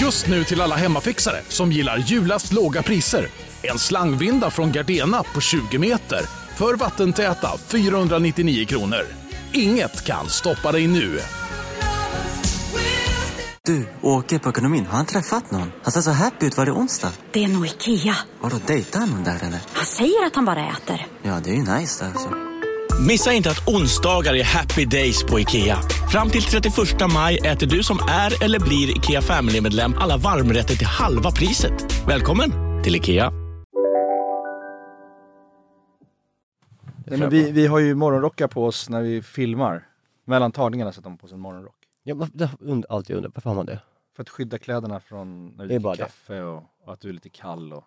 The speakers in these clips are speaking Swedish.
Just nu till alla hemmafixare som gillar julast låga priser. En slangvinda från Gardena på 20 meter för vattentäta 499 kronor. Inget kan stoppa dig nu. Du, åker på ekonomin. Har han träffat någon? Han ser så happy ut. Var det onsdag? Det är nog Ikea. Har du dejtar han någon där eller? Han säger att han bara äter. Ja, det är ju nice där alltså. Missa inte att onsdagar är happy days på IKEA. Fram till 31 maj äter du som är eller blir IKEA Family-medlem alla varmrätter till halva priset. Välkommen till IKEA. Nej, men vi, vi har ju morgonrockar på oss när vi filmar. Mellan tagningarna sätter man på sig en morgonrock. Ja, man, det har und, alltid undrat, varför har man det? För att skydda kläderna från när Det du är dricker bara det. kaffe och, och att du är lite kall och...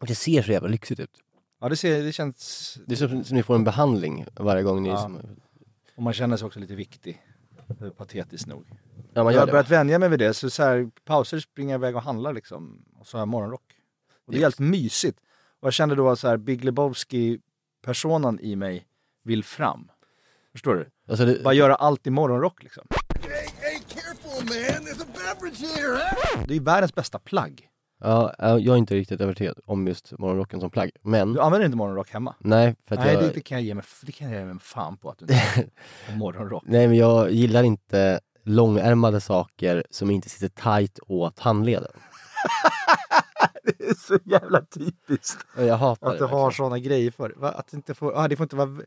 Och det ser så jävla lyxigt ut. Ja, det, ser, det känns... Det är som, som ni får en behandling varje gång ni... Ja. Som, Och man känner sig också lite viktig. Eh, Patetiskt nog. ja, man jag gör har det. börjat vänja mig vid det, så, så här, pauser springer jag iväg och handlar liksom. Och så har jag morgonrock. Och det är helt mysigt. Och jag kände då så här, Big Lebowski-personen i mig vill fram. Förstår du? Alltså, det, Bara göra allt i morgonrock liksom. Det är världens bästa plagg. ja, ja, jag är inte riktigt övertygad om just morgonrocken som plagg. Men, Du använder inte morgonrock hemma? nej, för att Nej, jag... det, det, kan jag ge mig, det kan jag ge mig en fan på att du inte har morgonrock. Nej, men jag gillar inte långärmade saker som inte sitter tajt åt handleden. Det är så jävla typiskt. Jag hatar Att du det. har verkligen. såna grejer för Va? Att det inte får, ah, det får inte vara...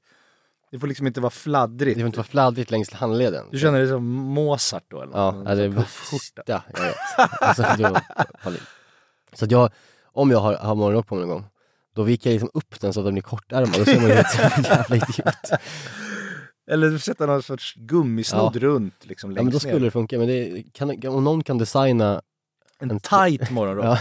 Det får liksom inte vara fladdrigt. Det får inte vara fladdrigt längs handleden. Du känner dig som Mozart då? Eller? Ja, något? ja, det är Så bara puffskjorta. skjorta. Jag vet. Alltså, då, så att jag, om jag har, har morgonrock på mig någon gång, då viker jag liksom upp den så att den blir kortärmad. Då ser man ju ut som en jävla idiot. Eller du sätter någon sorts gummisnodd Ja. runt liksom Ja, men längst då skulle ner. det funka. Men det, kan, om någon kan designa, En en- tight morgonrock. ja,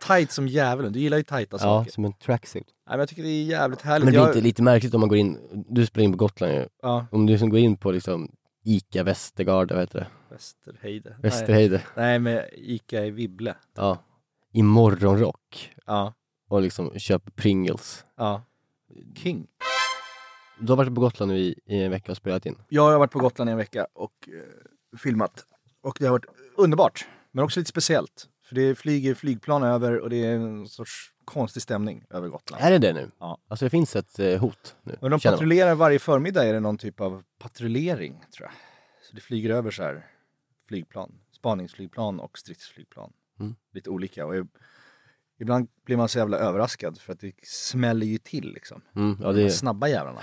Tight som djävulen. Du gillar ju tajta ja, saker. som en tracksuit. Nej, men jag tycker det är jävligt Men härligt. det blir jag, inte lite märkligt om man går in, du spelar in på Gotland ju, Ja, om du som går in på liksom Ica Västergarda, vad heter det? Västerheide. Nej, Västerheide. nej, men Ica i Vibble. Ja. I morgonrock Ja, och liksom köper Pringles. ja. King. Du har varit på Gotland nu i, i en vecka och spelat in. Jag har varit på Gotland i en vecka och eh, filmat. Och det har varit underbart, men också lite speciellt. För det flyger flygplan över och det är en sorts konstig stämning över Gotland. Är det det nu? Ja. Alltså det finns ett eh, hot nu, Men de Äh, känner man. patrullerar varje förmiddag är det någon typ av patrullering, tror jag. Så det flyger över så här flygplan, spaningsflygplan och stridsflygplan. Mm. Lite olika. Och i- ibland blir man så jävla överraskad för att det smäller ju till liksom. Mm, ja, De det, snabba jävlarna.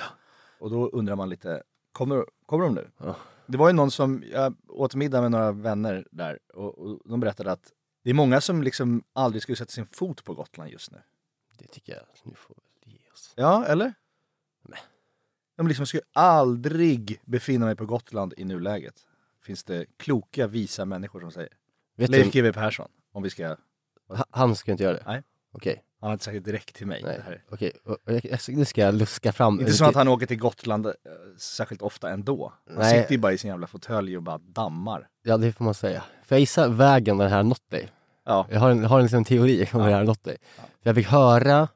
Och då undrar man lite, kommer, kommer de nu? Ja. Det var ju någon som, jag åt middag med några vänner där och, och de berättade att det är många som liksom aldrig skulle sätta sin fot på Gotland just nu. det tycker jag att nu får vi ge oss. Ja, eller? Nej. De liksom skulle aldrig befinna mig på Gotland i nuläget. Finns det kloka, visa människor som säger. Vet Leif du, GW Persson, om vi ska... ha- han ska inte göra det? Nej. Okej, Han har inte sagt det direkt till mig. Det nej. Mm, här. Okej, och- och jag- jag- det ska jag luska fram. Inte så att han åker till Gotland eh, särskilt ofta ändå. Han Nej. sitter ju bara i sin jävla fåtölj och bara dammar. Ja, det får man säga. För jag gissar vägen där det här har nått dig. Ja. Jag har en, har en liten teori om hur det här har nått dig. För jag fick höra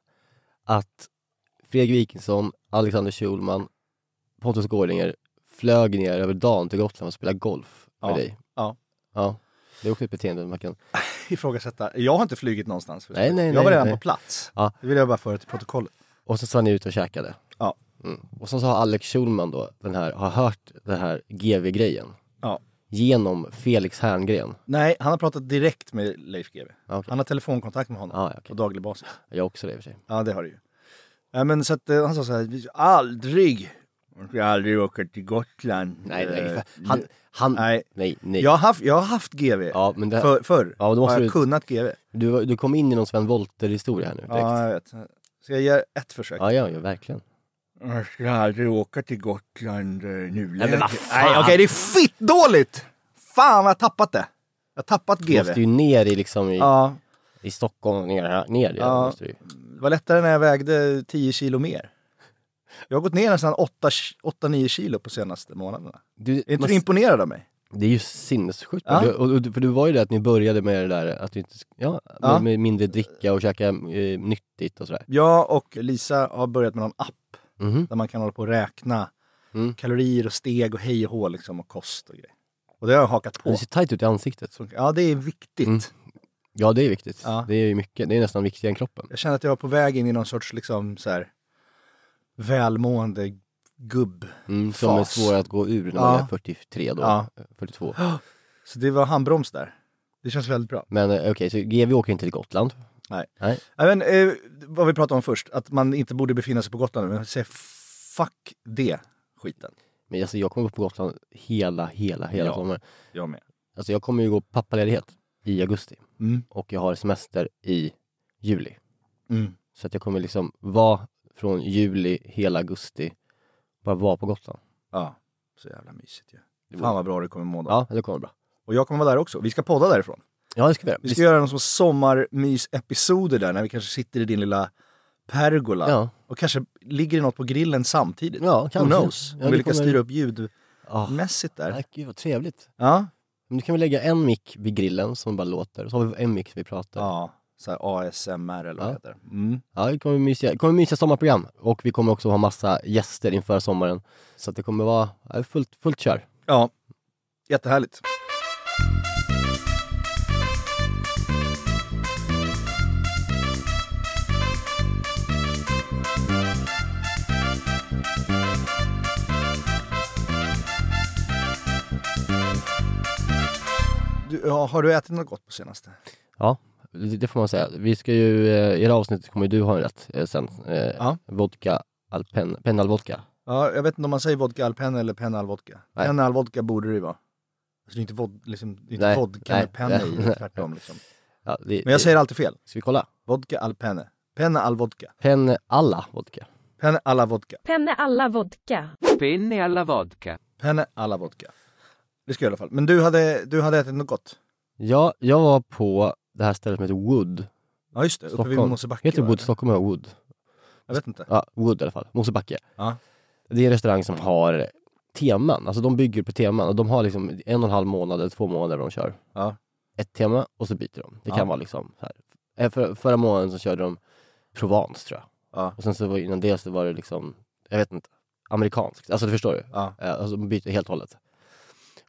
att Fredrik Wikingsson, Alexander Schulman, Pontus Gårdinger flög ner över dagen till Gotland för att spela golf med Ja. dig. Ja. Ja. Det är också ett beteende man kan... Ifrågasätta. Jag har inte flugit någonstans. förstår Nej, du. nej, jag var nej, redan nej. på plats. Ja. Det vill jag bara föra till protokollet. Och så var ni ute och käkade. Ja. Mm. Och sen så har Alex Schulman då, den här, har hört den här GV-grejen. Ja. Genom Felix Herngren. Nej, han har pratat direkt med Leif GW. Ja, okej. Han har telefonkontakt med honom Ja, ja, på okej. daglig basis. Jag också det i och för sig. Ja, det har det ju. Ja, men så att, eh, han sa så här, vi ska aldrig, man ska aldrig åka till Gotland. Nej, Eh, nej. för Han, nu- han, nej. nej, nej. Jag har haft, jag har haft GV Ja, men det, för, förr. Ja, då måste har jag du- kunnat GV. du, du kom in i någon Sven Wollter-historia här nu direkt. Ja, jag vet. Så jag ger ett försök. Ja, ja, ja verkligen. Jag ska aldrig åka till Gotland eh, nu Nej, men vad fan! Nej, okej, det är fittdåligt! Fan, vad jag har tappat det. Jag har tappat Du GV. måste ju ner i, liksom, i, Ja, i Stockholm, ner, här, ner igen, Ja. måste du. ju. det var lättare när jag vägde 10 kilo mer. Jag har gått ner nästan 8-9 kilo på senaste månaderna. Du, Är inte man, du imponerad av mig? det är ju sinnessjukt. Ja. Du, och, och, för du var ju det att ni började med det där att du inte, sk- ja, Ja. Med, med mindre dricka och käka eh, nyttigt och sådär. Jag och Lisa har börjat med någon app Mhm. där man kan hålla på och räkna Mm. kalorier och steg och hej och hå liksom och kost och grejer. Och det har jag hakat Du på. ser tajt ut i ansiktet. Ja, det är viktigt. Mm. Ja, det är viktigt. Ja. Det är ju mycket. Det är nästan viktigare än kroppen. Jag känner att jag var på väg in i någon sorts liksom så här välmående gubb. Mm, som är Fas. svårare att gå ur när man Ja. är 43 då. Eh, Ja. 42. Så det var handbroms där. Det känns väldigt bra. Men eh, okej, så GV åker inte till Gotland. Nej. Nej. Nej, Men, eh, vad vi pratade om först, att man inte borde befinna sig på Gotland. Men jag säger fuck det skiten. Men alltså, jag kommer gå på Gotland hela, hela, hela Ja. sommaren. Jag med. Alltså jag kommer ju gå pappaledighet i augusti Mm. och jag har semester i juli. Mm. Så att jag kommer liksom vara från juli hela augusti, bara vara på Gotland. Ja, så jävla mysigt ju. Fan vad bra det kommer må då. Ja, det kommer bra. Och jag kommer vara där också. Vi ska podda därifrån. Ja, det ska vi göra. Vi ska göra någon sorts sommarmys-episoder där när vi kanske sitter i din lilla pergola Ja. och kanske ligger det något på grillen samtidigt. Ja, Who kanske. knows? Ja, Om det vi lyckas kommer- Ah. styra upp ljudmässigt Ja. där. Nej, gud vad trevligt. Ja, Men du kan väl lägga en mick vid grillen som bara låter, och så har vi en mick som vi pratar. Ja, ja. Så här ASMR eller vad Ja. det heter. Mm. det kommer mysiga, det kommer mysiga sommarprogram och vi kommer också ha massa gäster inför sommaren. Så att det kommer vara ja, fullt, fullt kör. Ja, jättehärligt. Du, ja, har du ätit något gott på senaste? Ja, det, det får man säga. Vi ska ju, eh, i det här avsnittet kommer ju du ha en rätt eh, sen. Eh, Ja. Vodka, alpen, pennalvodka. Ja, jag vet inte om man säger vodka alpen eller pennalvodka. Nej. Pennalvodka borde det ju vara. Alltså det är inte, vod, liksom, det är inte Nej, vodka nej, med penna nej, i, nej. tvärtom. Liksom. Ja, det, Men jag säger alltid fel. Ska vi kolla? Vodka al penne. Penne al vodka. Pen alla vodka. Penne alla vodka. Penne alla vodka. Penne alla vodka. Penne alla vodka. Det ska jag i alla fall. Men du hade, du hade ätit något gott? Ja, jag var på det här stället som heter Wood. Ja just det, uppe vid Stockholm. Mosebacke. Heter va? Wood Stockholm eller Wood? Jag vet inte. Ja, Wood i alla fall. Mosebacke. Ja. Det är en restaurang som har teman. Alltså de bygger på teman och de har liksom en och en halv månad eller två månader de kör. Ja. Ett tema och så byter de. Det kan Ja. vara liksom så här. Eh, För, förra månaden så körde de Provence tror jag. Ja. Och sen så var, innan det så var det liksom, jag vet inte, amerikanskt. Alltså du förstår du? Ja. Eh, Alltså de byter helt och hållet.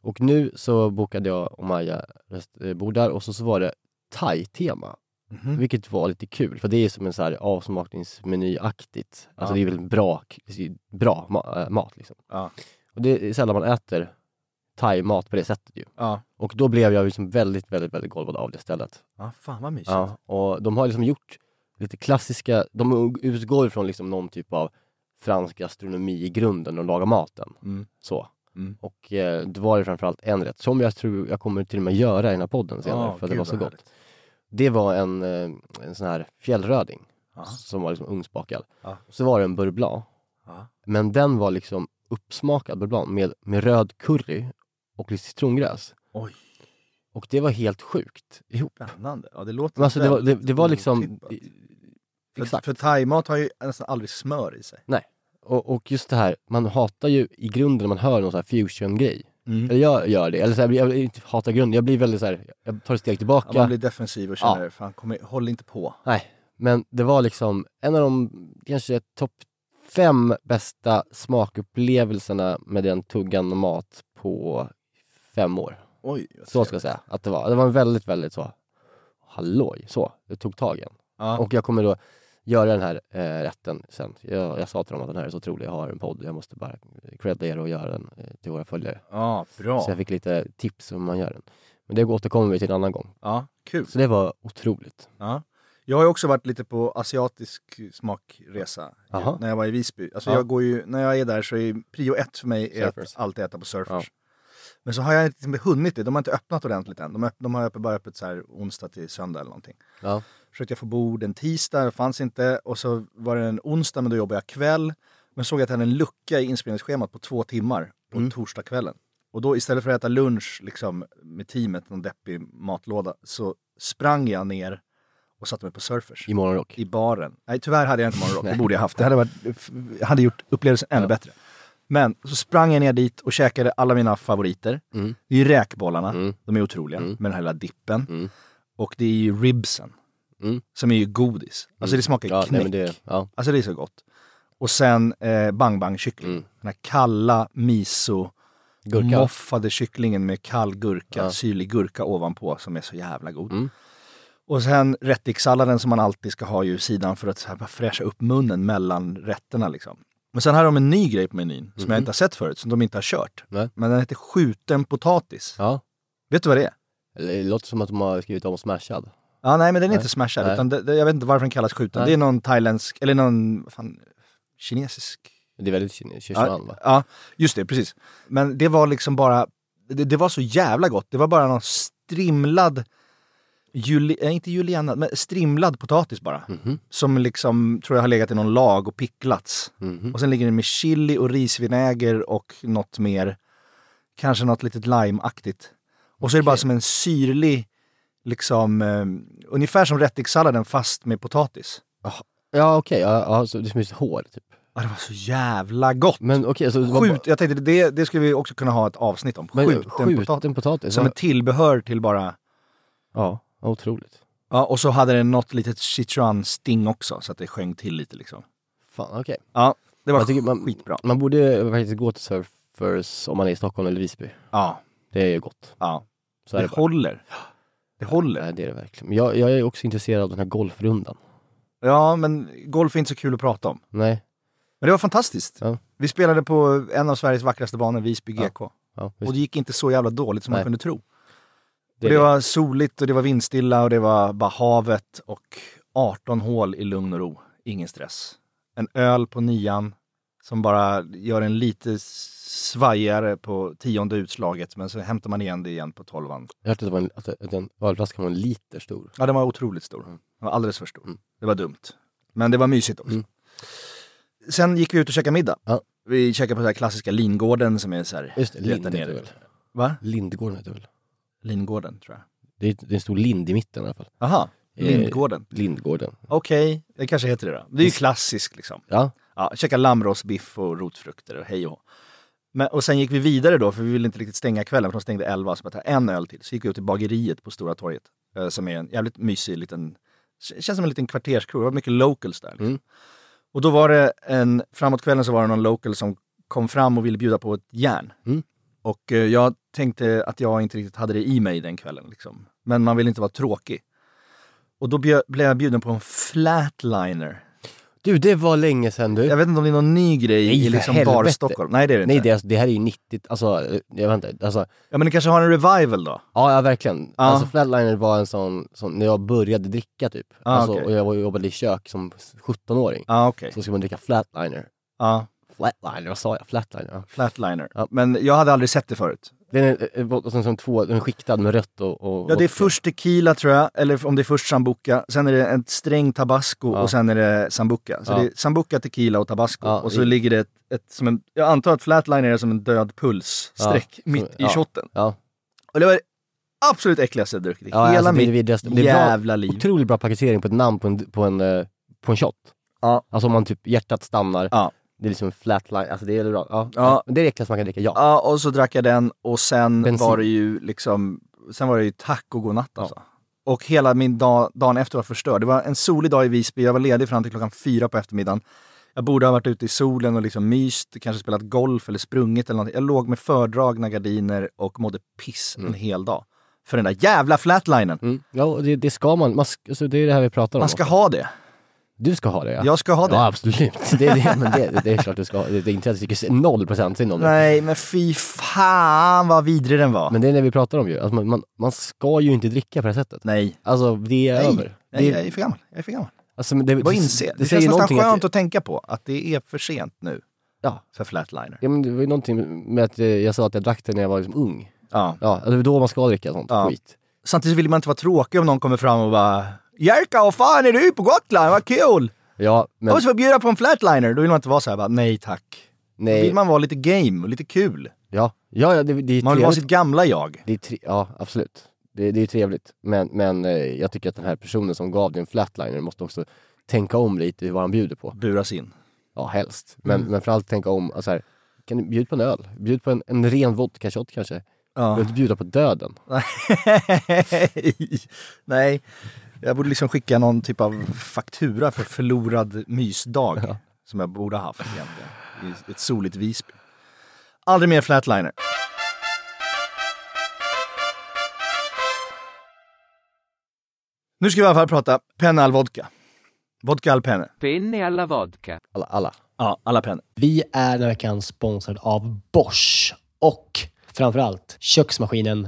Och nu så bokade jag och Maja rest- eh, bord där och så, så var det thai-tema. Mhm. Vilket var lite kul, för det är som en så här avsmakningsmeny-aktigt. Alltså Ja. det är väl bra, det är bra ma- eh, mat liksom. Ja. Och det är sällan man äter thai-mat på det sättet ju. Ja. Och då blev jag liksom väldigt, väldigt, väldigt golvad av det stället. ja, fan vad mysigt. Ja, och de har liksom gjort lite klassiska, de utgår från liksom någon typ av fransk gastronomi i grunden när de lagar maten. Mm. Så. Mm. Och eh, det var det framförallt en rätt som jag tror jag kommer till och med göra i den här podden senare Ja, för att det gud, var så vad gott. Det var en, eh, en sån här fjällröding Ja. som var liksom ugnsbakad. Ja. Så var det en beurre blanc. Ja. Men den var liksom uppsmakad beurre blanc med, med röd curry och lite citrongräs. Oj. Och det var helt sjukt ihop. Spännande. Ja, det låter Men alltså det var, det, väldigt det var liksom... otippat. För, Exakt. för thaimat har ju nästan aldrig smör i sig. Och, och just det här, man hatar ju i grunden när man hör någon sån här fusion-grej. Mm. Eller jag gör det. Eller så här, jag vill inte hata grunden, jag blir väldigt så här, jag tar ett steg tillbaka. Ja, man blir defensiv och känner, Ja. fan kom, i- håll inte på. Nej, men det var liksom en av de kanske topp fem bästa smakupplevelserna med den tuggan och mat på fem år. Oj, vad Så trevligt. ska jag säga att det var. Det var en väldigt, väldigt så, halloj, så, det tog tag i en. Ja. Och jag kommer då göra den här eh, rätten sen. Jag, jag sa till dem att den här är så otrolig, jag har en podd, jag måste bara credda er och göra den eh, till våra följare. ja, bra. Så jag fick lite tips om hur man gör den. Men det återkommer vi till en annan gång. Ja, kul. Så det var otroligt. Ja. Jag har ju också varit lite på asiatisk smakresa Jaha. när jag var i Visby. Alltså Ja. jag går ju, när jag är där så är prio ett för mig är Surfers. att alltid äta på surfers. Men så har jag inte liksom hunnit det, de har inte öppnat ordentligt än. De, öpp, de har öppet, bara öppet så här onsdag till söndag eller någonting. Ja. Försökte jag få bord en tisdag, det fanns inte. Och så var det en onsdag, men då jobbade jag kväll. Men såg att jag hade en lucka i inspelningsschemat på två timmar på torsdagskvällen. Och då istället för att äta lunch liksom, med teamet, någon deppig matlåda, så sprang jag ner och satte mig på Surfers I morgonrock. i baren. Nej, tyvärr hade jag inte morgonrock. Det borde jag haft. Det hade, varit, f- hade gjort upplevelsen ännu bättre. Men så sprang jag ner dit och käkade alla mina favoriter. Mm. Det är ju räkbollarna. Mm. De är otroliga Mm. med den här lilla dippen. Mm. Och det är ju ribsen. Mm. Som är ju godis. Alltså det smakar Ja, knäck. nej, men det, ja. Alltså det är så gott. Och sen eh, bang bang kyckling. Mm. Den här kalla miso Gurka. moffade kycklingen med kall gurka, Ja. syrlig gurka ovanpå som är så jävla god. Mm. Och sen rättikssalladen som man alltid ska ha ju i sidan för att så här, bara fräscha upp munnen mellan rätterna. Liksom. Men sen har de en ny grej på menyn som jag inte har sett förut, som de inte har kört. Mhm. Nej. Men den heter skjuten potatis. Ja. Vet du vad det är? Eller, Det låter som att de har skrivit om smashad. Ja, nej, men den är Nej. inte smashad. Nej. Utan det, det, jag vet inte varför den kallas skjuten. Nej. Det är någon thailändsk, eller någon vad fan, kinesisk. Det är väldigt kine- Sichuan Ja, va? ja, just det, precis. Men det var liksom bara, det, det var så jävla gott. Det var bara någon strimlad, juli, eh, inte juliana, men strimlad potatis bara. Mhm. Som liksom, tror jag har legat i någon lag och picklats. Mhm. Och sen ligger den med chili och risvinäger och något mer, kanske något litet limeaktigt. Och så är det bara som en syrlig, liksom, eh, ungefär som rättikssalladen fast med potatis. Ja okej, ja, ja, så det är som ett hår typ. Ja, det var så jävla gott! Men okej, så det var Skjut, jag tänkte det, det skulle vi också kunna ha ett avsnitt om. bara... Men, Skjuten, skjuten potatis. potatis. potatis. Som ja. ett tillbehör till bara... Ja, otroligt. Ja, och så hade den något litet Sichuan-sting också, så att det sjöng till lite liksom. Fan, okej. Ja, det var Jag tycker man- skitbra. Man borde eh, faktiskt gå till Surfers om man är i Stockholm eller Visby. Ja, Det är ju gott. ja. Så Det, är det bara. håller. Det håller. Nej, det är det verkligen. Men jag, jag är också intresserad av den här golfrundan. Ja, men golf är inte så kul att prata om. Nej, Men det var fantastiskt. Ja. Vi spelade på en av Sveriges vackraste banor, Visby GK. ja, Och visst, det gick inte så jävla dåligt som man Nej. kunde tro. det, och det var soligt och det var vindstilla och det var bara havet och 18 hål i lugn och ro. Ingen stress. En öl på nian som bara gör en lite svajigare på tionde utslaget men så hämtar man igen det igen på tolvan. Jag hörde att, det var en, att, att en ölflaska var en liter stor. Ja, den var otroligt stor. Mm. Den var alldeles för stor. Det var dumt. Men det var mysigt också. Mm. Sen gick vi ut och käkade middag. Ja. Vi käkade på den här klassiska Lingården som är så här... Just det, letar lind heter det väl? Va? Lindgården heter det väl? Lindgården, tror jag. Det är, det är en stor lind i mitten i alla fall. Jaha, Eh, Lindgården. Lindgården. Okej, det kanske heter det då. Det är ju klassiskt liksom. Ja, Ja, käka lammrostbiff och rotfrukter och hej och hå. men, Och sen gick vi vidare då, för vi ville inte riktigt stänga kvällen, för de stängde 11, så bara ta en öl till. Så gick vi ut till bageriet på Stora torget, eh, som är en jävligt mysig liten, k- känns som en liten kvarterskrog. Det var mycket locals där. Liksom. Mm. Och då var det en, framåt kvällen så var det någon local som kom fram och ville bjuda på ett järn. Mm. Och eh, jag tänkte att jag inte riktigt hade det i mig den kvällen. Liksom. Men man vill inte vara tråkig. Och då bjö- blev jag bjuden på en flatliner. Du, det var länge sedan du. Jag vet inte om det är någon ny grej Nej, i för liksom helvete. bar-Stockholm. Nej, det är det inte. Nej, det, är alltså, det här är ju 90, alltså, eh, jag vet inte, alltså, Ja, men det kanske har en revival då? ja, ja verkligen. Ja. Alltså flatliner var en sån, sån, när jag började dricka typ, Ja, alltså, Ah, okej. och jag var- jobbade i kök som 17-åring, Ja, ah, okej. så skulle man dricka flatliner. Ja, Flatliner, vad sa jag? Flatliner, ja. flatliner. Ja. Men jag hade aldrig sett det förut. Den är, eh, eh, som, som två, den är skiktad med rött och, och Ja, det är och- först tequila tror jag, eller om det är först sambuca. Sen är det en sträng tabasco Ja. och sen är det sambuca. Så Ja. det är sambuca, tequila och tabasco. Ja, och så i- ligger det ett, ett som en, jag antar att flatliner är som en död pulsstreck Ja, mitt så- i ja. shotten. Ja, Och det var det absolut äckligaste jag druckit i ja hela alltså, det är mitt det vidrigaste. Det är bra- jävla liv. Otroligt bra paketering på ett namn på en, på en, eh, på en shot. Ja. Alltså om man typ, hjärtat stannar, Ja. det är liksom en flatline, alltså det är bra. Ja. Ja. Men Det är det äckligaste man kan dricka, ja. Ja, och så drack jag den och sen Bensin. var det ju liksom, sen var det ju tack och godnatt Ja. alltså. Och hela min dag, dagen efter var förstörd. Det var en solig dag i Visby, jag var ledig fram till klockan fyra på eftermiddagen. Jag borde ha varit ute i solen och liksom myst, kanske spelat golf eller sprungit eller någonting. Jag låg med fördragna gardiner och mådde piss en hel dag. För den där jävla flatlinen. Mm. Ja, och det, det ska man, man sk- alltså, det är det här vi pratar om. Man ska ha det. Du ska ha det ja. Jag ska ha det. Ja absolut, det är, det, men det, det är klart du ska ha det. Det är inte att jag tycker noll procent synd om det. Nej, men fy fan vad vidrig den var. Men det är det vi pratar om ju, alltså, man, man, man ska ju inte dricka på det här sättet. Nej. Alltså det är Nej. över. Nej, det, jag är för gammal. Jag är för gammal. alltså, men det, Jag bara inser. Det, det säger känns nästan någonting skönt att, att, tänka på att det är för sent nu Ja. för flatliner. ja, men det var ju någonting med att eh, jag sa att jag drack det när jag var liksom ung. Ja. Ja, alltså, det är då man ska dricka sånt Ja. skit. Samtidigt vill man inte vara tråkig om någon kommer fram och bara Jerka, vad fan är du på Gotland? Vad kul! Ja, men Jag måste få bjuda på en flatliner. Då vill man inte vara så här bara, nej tack. Då nej. vill man vara lite game och lite kul. Ja, ja, ja det, det är ju Man vill vara trevligt. sitt gamla jag. Det är tre... Ja, absolut. Det, det är ju trevligt. Men, men eh, jag tycker att den här personen som gav dig en flatliner måste också tänka om lite i vad han bjuder på. Buras in. Ja, helst. Men, men framförallt tänka om. Alltså här, kan du bjuda på en öl? Bjud på en, en ren vodka-shot kanske. Du behöver Ja. inte bjuda på döden. nej, jag borde liksom skicka någon typ av faktura för förlorad mysdag. Som jag borde ha haft egentligen. I ett soligt Visby. Aldrig mer flatliner. Nu ska vi i alla fall prata Penne al vodka. Vodka al penne. Penne alla vodka. Alla, alla. Ja, alla penne. Vi är den här veckan sponsrad av Bosch och framförallt köksmaskinen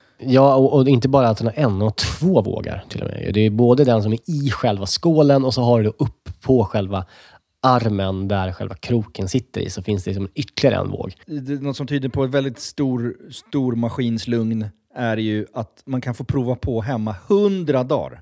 Ja, och, och inte bara att den har en och två vågar till och med. Det är både den som är i själva skålen och så har du då upp på själva armen där själva kroken sitter i så finns det liksom ytterligare en våg. det, något som tyder på ett väldigt stor, stor maskinslugn är ju att man kan få prova på hemma 100 dagar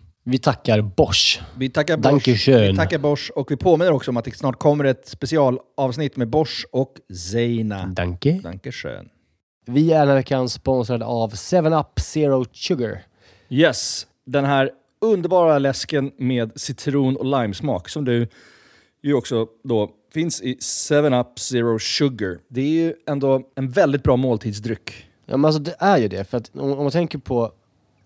Vi tackar Bosch. Vi tackar Bosch. Dankeschön. Vi tackar Bosch och vi påminner också om att det snart kommer ett specialavsnitt med Bosch och Zeina. Danke. Dankeschön. Vi är den här veckan sponsrade av 7up Zero Sugar. Yes, den här underbara läsken med citron och limesmak som du ju också då finns i 7-Up Zero Sugar. Det är ju ändå en väldigt bra måltidsdryck. Ja, men alltså det är ju det. För att om, om man tänker på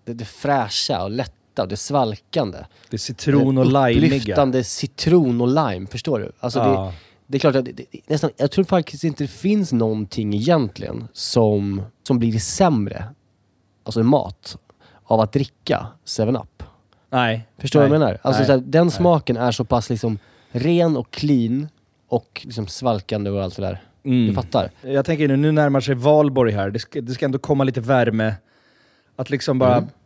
det, det fräscha och lätta och det svalkande. Det är citron och Den limeiga. Upplyftande citron och lime, förstår du? Alltså Ja. det, det är klart att det, det, det- nästan, jag tror faktiskt inte det finns någonting egentligen som, som blir sämre, alltså i mat, av att dricka 7-Up. Nej. Förstår du vad jag menar? Alltså Nej. så här, den smaken är så pass liksom ren och clean och liksom svalkande och allt det där. Mm. Du fattar? Jag tänker nu, nu närmar sig valborg här. Det ska, det ska ändå komma lite värme. Att liksom bara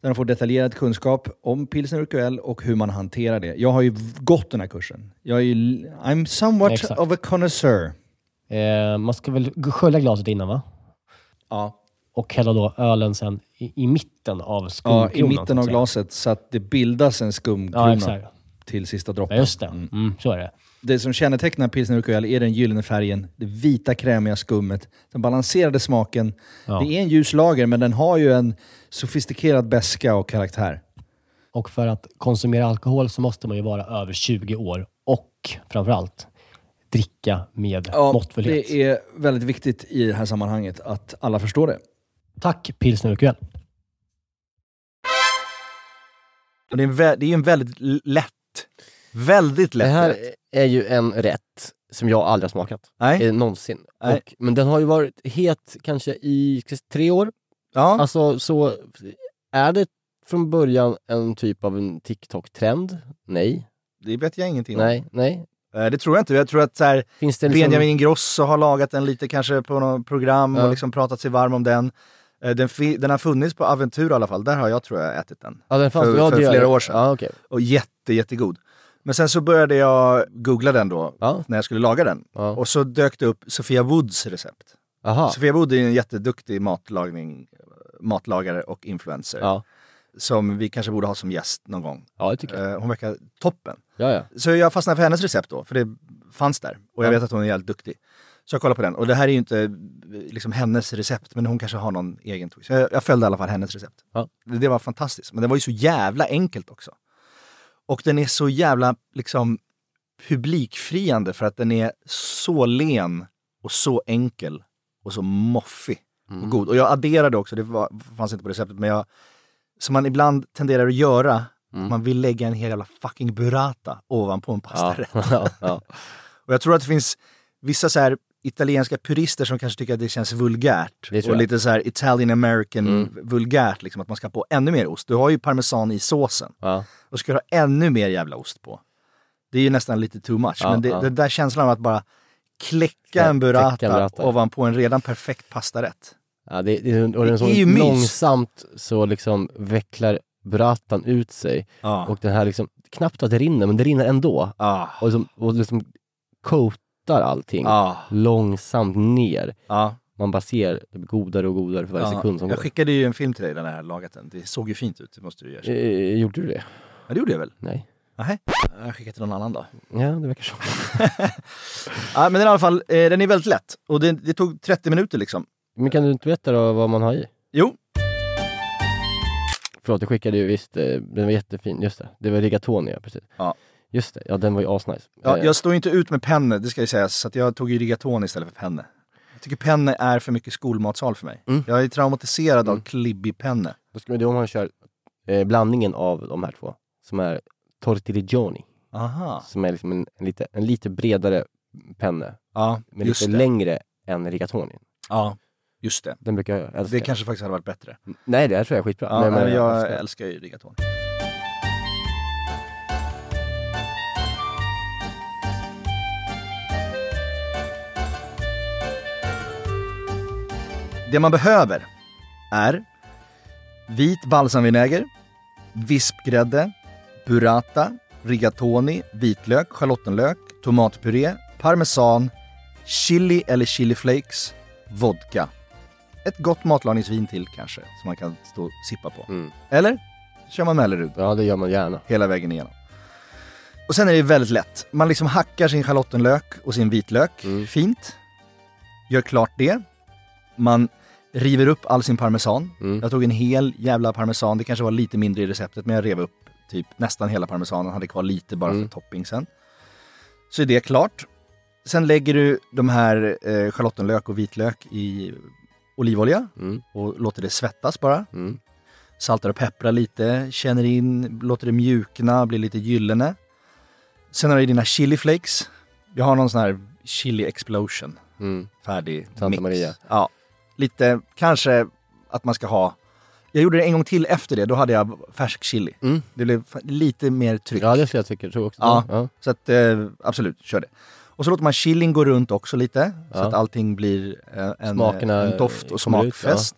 Där de får detaljerad kunskap om pilsner och QL och hur man hanterar det. Jag har ju gått den här kursen. Jag är ju, I'm somewhat Exakt. of a connoisseur. Eh, man ska väl g- skölja glaset innan va? Ja. Och hälla då ölen sen i, i mitten av Ja, skumkronan. I så mitten att av säga. glaset så att det bildas en skumkrona Ja, exakt. till sista Ja, droppen. just det. Mm, så är det. Det som kännetecknar pilsner och öl är den gyllene färgen, det vita krämiga skummet, den balanserade smaken. Ja. Det är en ljus lager, men den har ju en sofistikerad beska och karaktär. Och för att konsumera alkohol så måste man ju vara över 20 år och framförallt dricka med måttfullhet. det är väldigt viktigt i det här sammanhanget att alla förstår det. Tack pilsner och öl. Och det är en, vä- det är en väldigt l- lätt, väldigt Det lätt här rätt. är ju en rätt som jag aldrig har smakat. Nej? Eh, någonsin. Nej. Och, men den har ju varit het kanske i tre år. Ja. Alltså så är det från början en typ av en TikTok-trend? Nej. Det vet jag ingenting om. Nej, nej. Eh, Det tror jag inte. Jag tror att så här, Finns det liksom... Benjamin Ingrosso har lagat den lite kanske på något program Ja. och liksom pratat sig varm om den. Eh, Den, fi- den har funnits på Aventura i alla fall. Där har jag tror jag ätit den. Ja, den fanns. för- ja, det för gör flera jag. år sedan. Ja, okej. Och jätte, jättegod. Men sen så började jag googla den då, Ja. när jag skulle laga den. Ja. Och så dök det upp Sofia Woods recept. Aha. Sofia Wood är en jätteduktig matlagning, matlagare och influencer. Ja. Som vi kanske borde ha som gäst någon gång. ja, det tycker jag. Eh, Hon verkar toppen. Ja, ja. Så jag fastnade för hennes recept då, för det fanns där. Och jag Ja. vet att hon är jävligt duktig. Så jag kollade på den. Och det här är ju inte eh, liksom hennes recept, men hon kanske har någon egen twist. Jag, jag följde i alla fall hennes recept. Ja. Det, det var fantastiskt. Men det var ju så jävla enkelt också. Och den är så jävla liksom publikfriande för att den är så len och så enkel och så moffig Mm. och god. Och jag adderade också, det var, fanns inte på receptet, men jag, som man ibland tenderar att göra, man vill lägga en hel jävla fucking burrata ovanpå en Mm. Ja. pastarätt. ja, ja. Och jag tror att det finns vissa så här italienska purister som kanske tycker att det känns vulgärt. Det tror och jag. lite så här Italian American Mm. vulgärt, liksom att man ska på ännu mer ost. Du har ju parmesan i såsen ja. och ska du ha ännu mer jävla ost på. Det är ju nästan lite too much, Ja, men det, ja. den där känslan av att bara kläcka Klä- en burrata, kläcka en burrata. ovanpå en redan perfekt pastarätt. Ja, det, det, och den Det så är ju mys. långsamt så liksom vecklar bratan ut sig Ja. och den här liksom, knappt att det rinner, men det rinner ändå. Ja. Och liksom, och liksom coatar allting Ja. långsamt ner. Ja. Man bara ser godare och godare för varje Ja. sekund som Jag går. skickade ju en film till dig när jag hade lagat den. Det såg ju fint ut, det måste du ju erkänna. Eh, gjorde du det? Ja, det gjorde jag väl? Nej. Nej. Jag skickade till någon annan då. Ja, det verkar så. Ja, men den i alla fall, eh, den är väldigt lätt. Och det, det tog 30 minuter liksom. Men kan du inte berätta då vad man har i? Jo, Förlåt, jag skickade ju visst, eh, den var jättefin, just det. Det var rigatoni, ja precis. Ja. Just det, ja den var ju asnice. ja, Eh, jag står ju inte ut med penne, det ska ju sägas. Så att jag tog ju rigatoni istället för penne. Jag tycker penne är för mycket skolmatsal för mig. Mm. Jag är traumatiserad av Mm. klibbig penne. Då ska man, det är om man kör eh, blandningen av de här två, som är tortigligioni, Aha. som är liksom en, en, lite, en lite bredare penne, Ja, men just lite det. längre än rigatonin. Ja, just det. Den brukar jag älska. Det kanske faktiskt hade varit bättre. Nej, det här tror jag är skitbra. Ja, men, jag älskar, älskar. ju rigatoni. Det man behöver är vit balsamvinäger, vispgrädde, burrata, rigatoni, vitlök, schalottenlök, tomatpuré, parmesan, chili eller chili flakes, vodka. Ett gott matlagningsvin till kanske, som man kan stå och sippa på. Mm. Eller kör man Mellerud Ja, det gör man gärna. hela vägen igenom. Och sen är det väldigt lätt. Man liksom hackar sin schalottenlök och sin vitlök Mm. fint. Gör klart det. Man river upp all sin parmesan. Mm. Jag tog en hel jävla parmesan. Det kanske var lite mindre i receptet, men jag rev upp typ nästan hela parmesanen. Hade kvar lite bara Mm. för toppingsen. Så är det klart. Sen lägger du de här eh, schalottenlök och vitlök i olivolja Mm. och låter det svettas bara Mm. saltar och pepprar lite, känner in, låter det mjukna, blir lite gyllene. Sen har du dina chili flakes. Jag har någon sån här chili explosion, Mm. färdig Santa mix. Maria. Ja, lite kanske att man ska ha... Jag gjorde det en gång till efter det, då hade jag färsk chili. Mm. Det blev fa- lite mer tryck. Ja, det skulle jag tycka. Tror också. Ja. Ja. Så att, eh, absolut, kör det. Och så låter man chilin gå runt också lite, så Ja. att allting blir eh, en, Smakerna en doft och kommer ut, smakfest.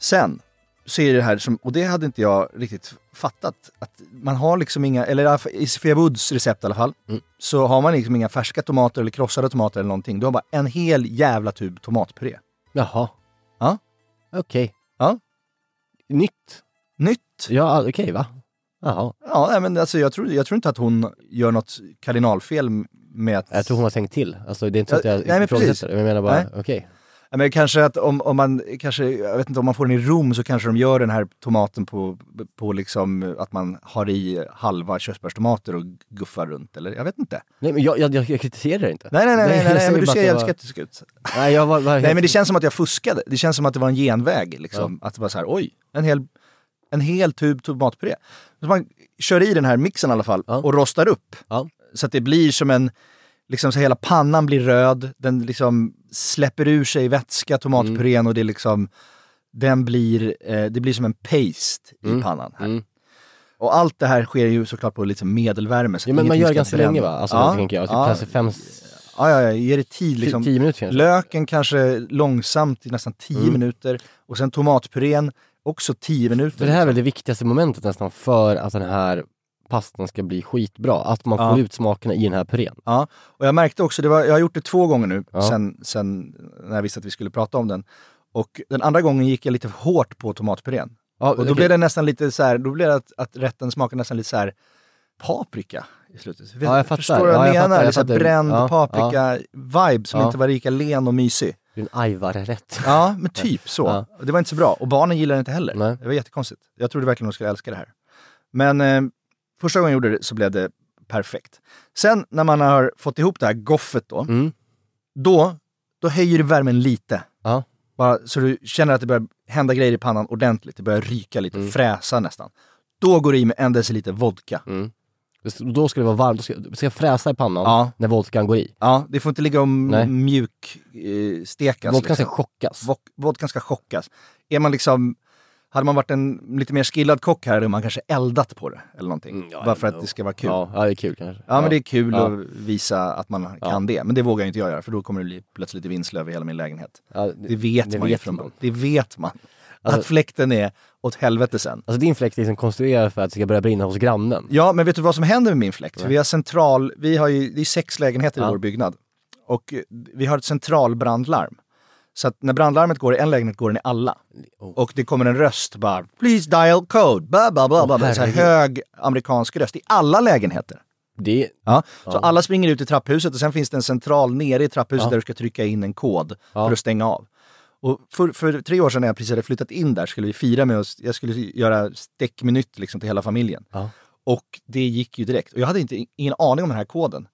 Sen så är det här som, och det hade inte jag riktigt fattat, att man har liksom inga, eller i alla fall i Sofia Woods recept i alla fall, Mm. så har man liksom inga färska tomater eller krossade tomater eller någonting. Du har bara en hel jävla tub tomatpuré. Jaha. Ja. Okej. Ja. Nytt. Nytt! Ja, okej va? Jaha. Ja, nej, men alltså jag tror, jag tror inte att hon gör något kardinalfel med att... Jag tror hon har tänkt till. Alltså, det är inte så Ja, att jag nej, men ifrågasätter precis. det. men Jag menar bara, Nej. okej. Ja, Men kanske att om, om man, kanske, jag vet inte, om man får den i Rom så kanske de gör den här tomaten på, på liksom att man har i halva körsbärstomater och guffar runt eller jag vet inte. Nej men jag, jag, jag, jag kritiserar det inte. Nej, nej, nej, nej, jag nej, säger men du bara ser att det jävligt var- skeptisk ut. Nej, jag var, var helt... Nej, men det känns som att jag fuskade. Det känns som att det var en genväg liksom. Att det var så här, oj, en hel, en hel tub tomatpuré. Så man kör i den här mixen i alla fall Ja. och rostar upp. Ja. Så att det blir som en, liksom så hela pannan blir röd, den liksom släpper ur sig vätska, tomatpurén Mm. och det är liksom, den blir, eh, det blir som en paste i pannan här. Mm. Och allt det här sker ju såklart på liksom medelvärme. Så Ja, att men man ingenting gör ska ganska bränna. länge va? Alltså, ja, tänker jag. Typ ja, kanske fem, ja, ja, ja, ger det tid liksom. tio minuter kanske. Löken kanske långsamt i nästan 10 Mm. minuter och sen tomatpurén också 10 minuter. För det här är väl det viktigaste momentet nästan för att den här pastan ska bli skitbra. Att man Ja. får ut smakerna i den här purén. Ja, och jag märkte också, det var, jag har gjort det två gånger nu Ja. sen, sen när jag visste att vi skulle prata om den. Och den andra gången gick jag lite för hårt på tomatpurén. Ja, Och då okej. blev det nästan lite så här, då blev det att, att rätten smakade nästan lite så här paprika i slutet. Vet- Ja, jag fattar. Förstår du vad Ja, jag menar? jag fattar, jag Lite så här fattar. bränd Ja, paprika-vibe som Ja. inte var lika len och mysig. Det är en ajvarrätt. Ja, men typ så. Ja. Och Det var inte så bra. Och barnen gillade det inte heller. Nej. Det var jättekonstigt. Jag trodde verkligen de skulle älska det här. Men eh, första gången jag gjorde det så blev det perfekt. Sen när man har fått ihop det här goffet då, Mm. då, då höjer du värmen lite. Ja. Bara så du känner att det börjar hända grejer i pannan ordentligt. Det börjar ryka lite, Mm. fräsa nästan. Då går du i med en deciliter vodka. Då ska det vara varmt, då ska, det ska fräsa i pannan Ja. när vodkan går i. Ja, det får inte ligga och Nej. mjuk eh, stekas. vodkan liksom. ska chockas. Vod- Vodkan ska chockas. Är man liksom, hade man varit en lite mer skillad kock här hade man kanske eldat på det eller någonting. Mm, ja, bara för att no. det ska vara kul. Ja, Ja, ja, det är kul kanske. men det är kul Ja. att visa att man kan det. Men det vågar ju inte jag göra för då kommer det bli plötsligt lite vindsl över hela min lägenhet. Ja, det- det vet det man ju vet från man. man. Det vet man. Alltså- att fläkten är åt helvete sen. Alltså din fläkt är liksom konstruerad för att det ska börja brinna hos grannen. Ja, men vet du vad som händer med min fläkt? För vi har central, vi har ju, det är sex lägenheter i Ja. vår byggnad. Och eh, vi har ett centralbrandlarm. Så att när brandlarmet går i en lägenhet går den i alla. Oh. Och det kommer en röst bara, please dial code, bla bla bla. bla, bla. Så här herregud. hög amerikansk röst i alla lägenheter. Det är, Ja. Så alla springer ut i trapphuset och sen finns det en central nere i trapphuset där du ska trycka in en kod för att stänga av. Och för, för tre år sedan när jag precis hade flyttat in där skulle vi fira med oss, jag skulle göra steckmenytt liksom till hela familjen. Ja. Och det gick ju direkt. Och jag hade inte, ingen aning om den här koden.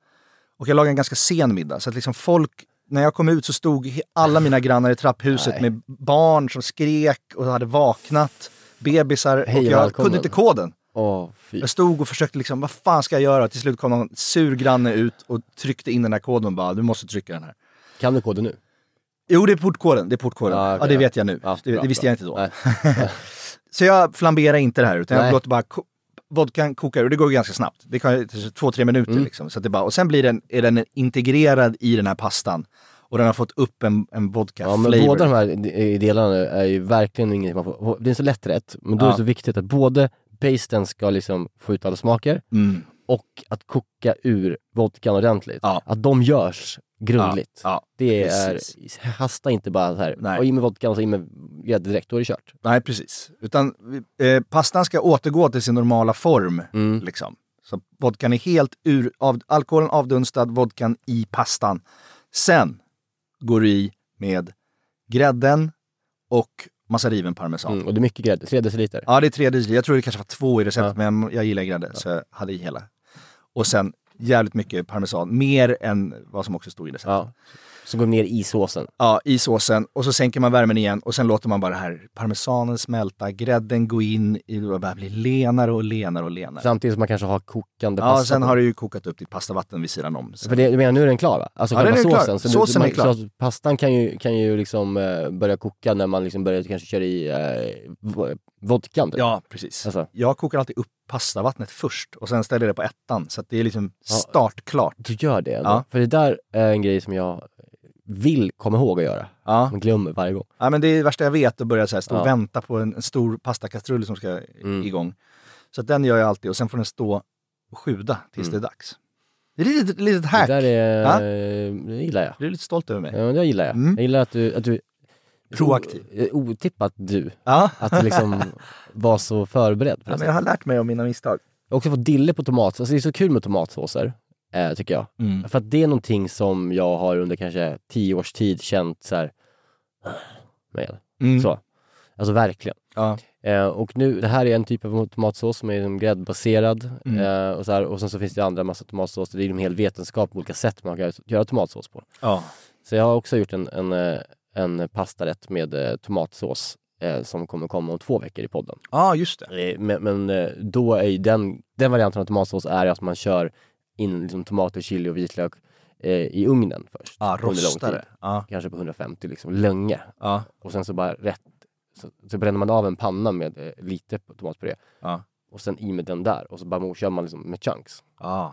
Och jag lagade en ganska sen middag, så att liksom folk, när jag kom ut så stod he- alla mina grannar i trapphuset med barn som skrek och hade vaknat, bebisar, Hej och och jag välkommen. kunde inte koden. åh fy. Jag stod och försökte liksom, vad fan ska jag göra? Till slut kom någon sur granne ut och tryckte in den här koden och bara, du måste trycka den här. Kan du koden nu? Jo, det är portkoden. Det är portkoden. Ja, Ja, Ah, okej, det ja. vet jag nu. Ja, det, bra, det visste bra. jag inte då. Nej. Så jag flamberar inte det här, utan Nej. jag låter bara ko- vodkan koka ur. Det går ju ganska snabbt. Det kan ju ta två, tre minuter Mm. liksom. Så att det bara, och sen blir den, är den integrerad i den här pastan. Och den har fått upp en, en vodka Ja, men flavor. båda de här de- delarna är ju verkligen inget man får, det är så lätt rätt, men då är det Ja. så viktigt att både basten ska liksom få ut alla smaker Mm. och att koka ur vodkan ordentligt. Ja. Att de görs grundligt. Ja, det precis. är, hasta inte bara så här, Nej. och in med vodkan och så in med grädde direkt, då är det kört. Nej, precis. Utan eh, pastan ska återgå till sin normala form. Mm. Liksom. Så vodkan är helt ur, av, alkoholen avdunstad, vodkan i pastan. Sen går du i med grädden och massa riven parmesan. Mm, och det är mycket grädde, tre deciliter. Ja, det är tre diesel. Jag tror det kanske var två i receptet, men jag gillar grädde så jag hade i hela. Och sen jävligt mycket parmesan, mer än vad som också stod i receptet. Ja. Ja. Som går ner i såsen. i såsen och så sänker man värmen igen och sen låter man bara det här parmesanen smälta, grädden gå in i och bara bli lenare och lenare och lenare. Samtidigt som man kanske har kokande Ja, pasta sen på. har du ju kokat upp ditt pastavatten vid sidan om. Så- För det, du menar, nu är den klar va? Alltså Ja, själva den är klar. såsen. Så Såsen man, är klar. Så att pastan kan ju, kan ju liksom eh, börja koka när man liksom börjar kanske köra i eh, vo- vodkan. typ. Ja, precis. Alltså. Jag kokar alltid upp pastavattnet först och sen ställer jag det på ettan så att det är liksom startklart. Du gör det? ändå. Ja. För det där är en grej som jag vill komma ihåg att göra. Ja. Man glömmer varje gång. Ja, men det är det värsta jag vet, att börja så här, stå Ja. och vänta på en, en stor pastakastrull som ska i- Mm. igång. Så att den gör jag alltid och sen får den stå och sjuda tills Mm. det är dags. Det är ett litet, litet hack. Det där är, Ja. det gillar jag. Du är lite stolt över mig. Ja, men det gillar jag. Mm. Jag gillar att du, att du Proaktiv. O- eh, Otippat du. Ja. Att liksom vara så förberedd. På Ja, det men sättet. jag har lärt mig av mina misstag. Jag har också fått dille på tomatsås. Alltså det är så kul med tomatsåser, eh, tycker jag. Mm. För att det är någonting som jag har under kanske tio års tid känt så här, "Ah, med. Så. Alltså verkligen. Mm. Ja. Eh, och nu, det här är en typ av tomatsås som är liksom gräddbaserad. Mm. Eh, och, så här, och sen så finns det andra massa tomatsåser. Det är ju en hel vetenskap på olika sätt man kan göra- göra tomatsås på. Ja. Så jag har också gjort en, en, eh, en pastarätt med eh, tomatsås eh, som kommer komma om två veckor i podden. ja, just det. Eh, Men, men eh, då är ju den, den varianten av tomatsås är att man kör in liksom tomater, chili och vitlök eh, i ugnen först. Ja, under lång tid. rostare. Ja. Kanske på 150 liksom, länge. Ja. Och sen så bara rätt, så, så bränner man av en panna med eh, lite tomatpuré. Ja. Och sen i med den där och så bara kör man liksom med chunks. Ja.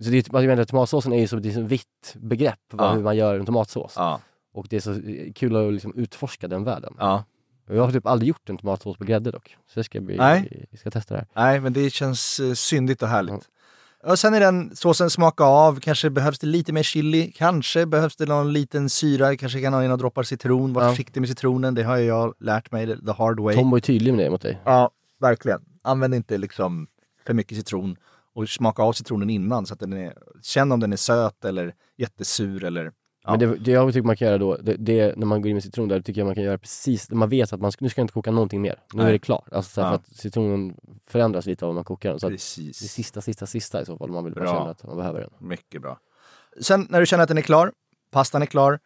Så det är, typ- jag menar, tomatsåsen är ju som det är som ett liksom vitt begrepp vad, Ja. hur man gör en tomatsås. Ja. Och det är så eh, kul att liksom utforska den världen. ja. Och Jag har typ aldrig gjort en tomatsås på grädde dock. Så det ska bli, Nej. vi ska testa det här. Nej, men det känns eh, syndigt och härligt. Mm. Och sen är den såsen smaka av, kanske behövs det lite mer chili, kanske behövs det någon liten syra, kanske kan ha in några droppar citron. Var Ja. försiktig med citronen, det har ju jag lärt mig the hard way. Tom var ju tydlig med det mot dig. Ja, verkligen. Använd inte liksom för mycket citron och smaka av citronen innan så att den är, känn om den är söt eller jättesur eller... Ja. Men det, det jag tycker man kan göra då, det, det är när man går in med citron där, tycker jag man kan göra precis, man vet att man, ska- nu ska jag inte koka någonting mer. Nu Nej. är det klart. Alltså, så här, Ja. för att citronen förändras lite av vad man kokar den. Så att det är Precis. sista, sista, sista i så fall, om man vill man Bra. känner att man behöver den. Mycket bra. Sen när du känner att den är klar, pastan är klar,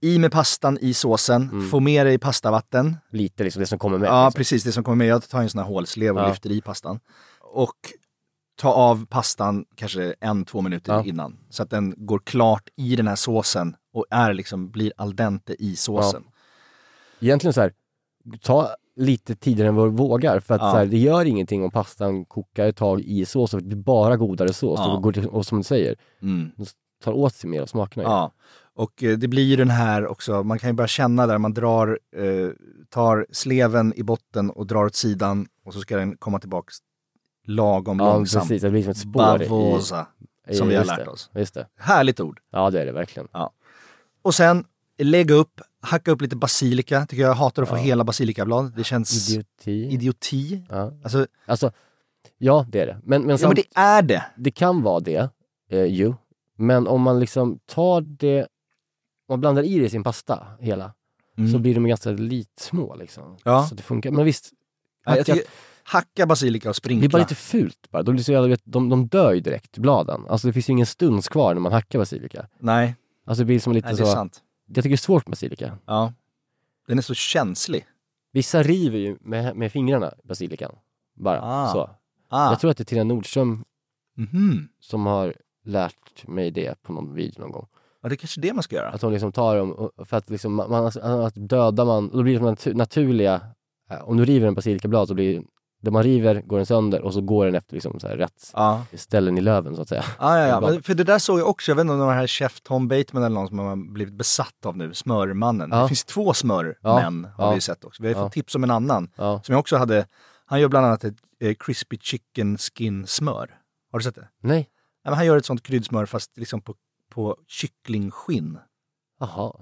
i med pastan i såsen, Mm. få med dig pastavatten. Lite liksom det som kommer med. Ja, liksom. precis. Det som kommer med. Jag tar en sån här hålslev och Ja. lyfter i pastan. Och ta av pastan kanske en, två minuter Ja. innan. Så att den går klart i den här såsen och är liksom, blir al dente i såsen. Egentligen så här, ta lite tidigare än vad du vågar. För att Ja. så här, det gör ingenting om pastan kokar ett tag i sås, för det blir bara godare sås. Ja. Och, går, till- och som du säger, Mm. tar åt sig mer av smakerna. ju. Ja. Och eh, det blir ju den här också, man kan ju börja känna där man drar, eh, tar sleven i botten och drar åt sidan och så ska den komma tillbaka lagom ja långsamt. precis. Det blir som ett spår. i- Bavosa, i- som vi har just lärt det, oss. Just det. Härligt ord. Ja, det är det verkligen. Och sen lägga upp, hacka upp lite basilika, tycker jag, jag hatar att få Ja. hela basilikablad. Det känns idioti. Idioti. ja. Alltså, Alltså, ja, det är det. Men, men, ja, men samt, det det... är det. kan vara det, eh, ju. Men om man liksom tar det, om man blandar i det i sin pasta hela, så blir de ganska litsmå liksom. Mm. Ja. Så det funkar. Men visst, ja, jag hackat- tycker, hacka basilika och det är bara sprinkla. lite fult bara. De, blir så jävla, vet, de, de dör ju direkt, bladen. Alltså det finns ju ingen stuns kvar när man hackar basilika. Nej, Alltså det blir som lite nej, det så, är sant. jag tycker det är svårt med basilika. Ja. Den är så känslig. Vissa river ju med, med fingrarna basilikan. Bara Ah. så. Ah. Jag tror att det är Tina Nordström Mhm. som har lärt mig det på någon video någon gång. Ja, det är kanske det man ska göra. Att hon liksom tar dem, och- för att liksom, man, man- att dödar man, då blir det som natu- naturliga, eh, om du river en basilikablad så blir det man river går den sönder och så går den efter liksom så här rätt Ja. Ah, ställen i löven så att säga. Ja, ja, ja. Bladet. Men för det där såg jag också, jag vet inte om det var den här chef Tom Bateman eller någon som man har blivit besatt av nu, smörmannen. Ja. Det finns två smörmän Ja, har ja. vi sett också. Vi har fått Ja. tips om en annan Ja. som jag också hade. Han gör bland annat ett eh, crispy chicken skin smör. Har du sett det? Nej, Nej, men han gör ett sånt kryddsmör fast liksom på, på kycklingskinn jaha.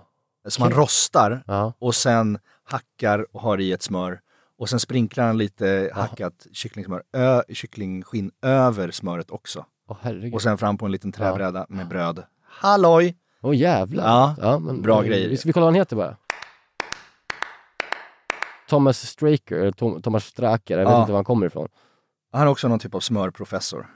som han rostar Ja. och sen hackar och har i ett smör. Och sen sprinklar han lite hackat kycklingsmör, ö, kycklingskinn över smöret också. Åh herregud. Och sen fram på en liten träbräda med bröd. Halloj! Åh jävlar. Ja, men, bra vi, grejer. Vi, vi kollar vad han heter bara. Thomas Straker, eller Tom, Thomas Straker, jag vet Ja. inte var han kommer ifrån. Han är också någon typ av smörprofessor.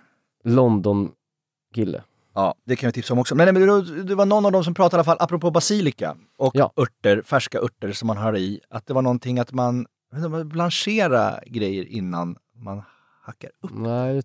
London-kille. Ja, det kan jag tipsa om också. Men, nej, men det- det var någon av dem som pratade i alla fall, apropå basilika och Ja. örter, färska örter som man har i, att det var någonting att man, jag vet inte, man blanchera grejer innan man hackar upp. Nej,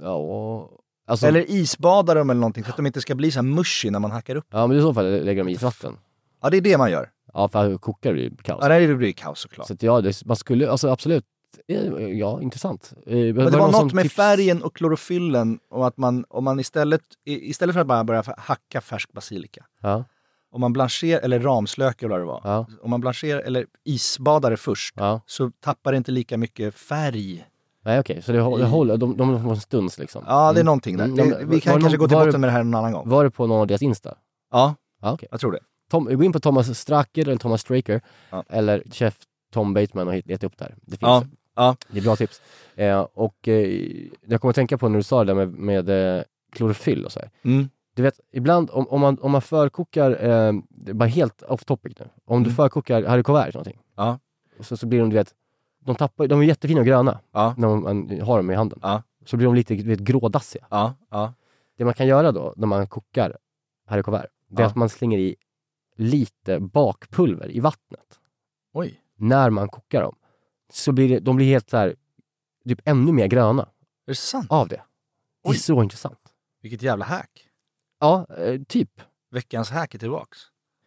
ja. Alltså, Eller isbada dem eller någonting, så att de inte ska bli så här mushy när man hackar upp. Ja, men i så fall lägger de i isvatten. Ja, det är det man gör. Ja, för kokar blir det kaos. Ja, nej, det blir kaos såklart. Så att ja, det, man skulle, alltså absolut, Eh, ja intressant. Eh, Men det var, någon något som med tips- färgen och klorofyllen och att man, om man istället, i- istället för att bara börja hacka färsk basilika, Ja. om man blancherar, eller ramslök eller vad det var, Ja. om man blancherar eller isbadar det först Ja. så tappar det inte lika mycket färg. Nej okej, så det, hå- det håller, de, de får en stuns liksom. Ja, det är Mm. någonting där. Mm, det, de- vi kan var det kanske gå någon- till var botten det- med det här någon annan gång. Var det på någon av deras Insta? Ja, Ja, okej. jag tror det. Tom, gå in på Thomas Stracker eller Thomas Straker Ja. eller chef Tom Bateman och hit- leta upp det här. Det finns. Ja, ja. Det är bra tips. Eh, och eh, jag kommer att tänka på när du sa det där med, med eh, klorofyll och så här. Mm. Du vet, ibland om, om, man, om man förkokar, eh, det är bara helt off topic nu, om du förkokar haricots verts någonting, Mm. Ja. så, så blir de, du vet, de, tappar, de är jättefina och gröna Ja. när man, man har dem i handen. Ja. Så blir de lite du vet, grådassiga. Ja, ja. Det man kan göra då när man kokar haricots verts, det är Ja. att man slänger i lite bakpulver i vattnet Oj. när man kokar dem. Så blir det, de blir helt så här, typ ännu mer gröna Är det sant? av det. Det är Oj. så intressant. Vilket jävla hack. Ja, eh, typ. Veckans hack är tillbaks.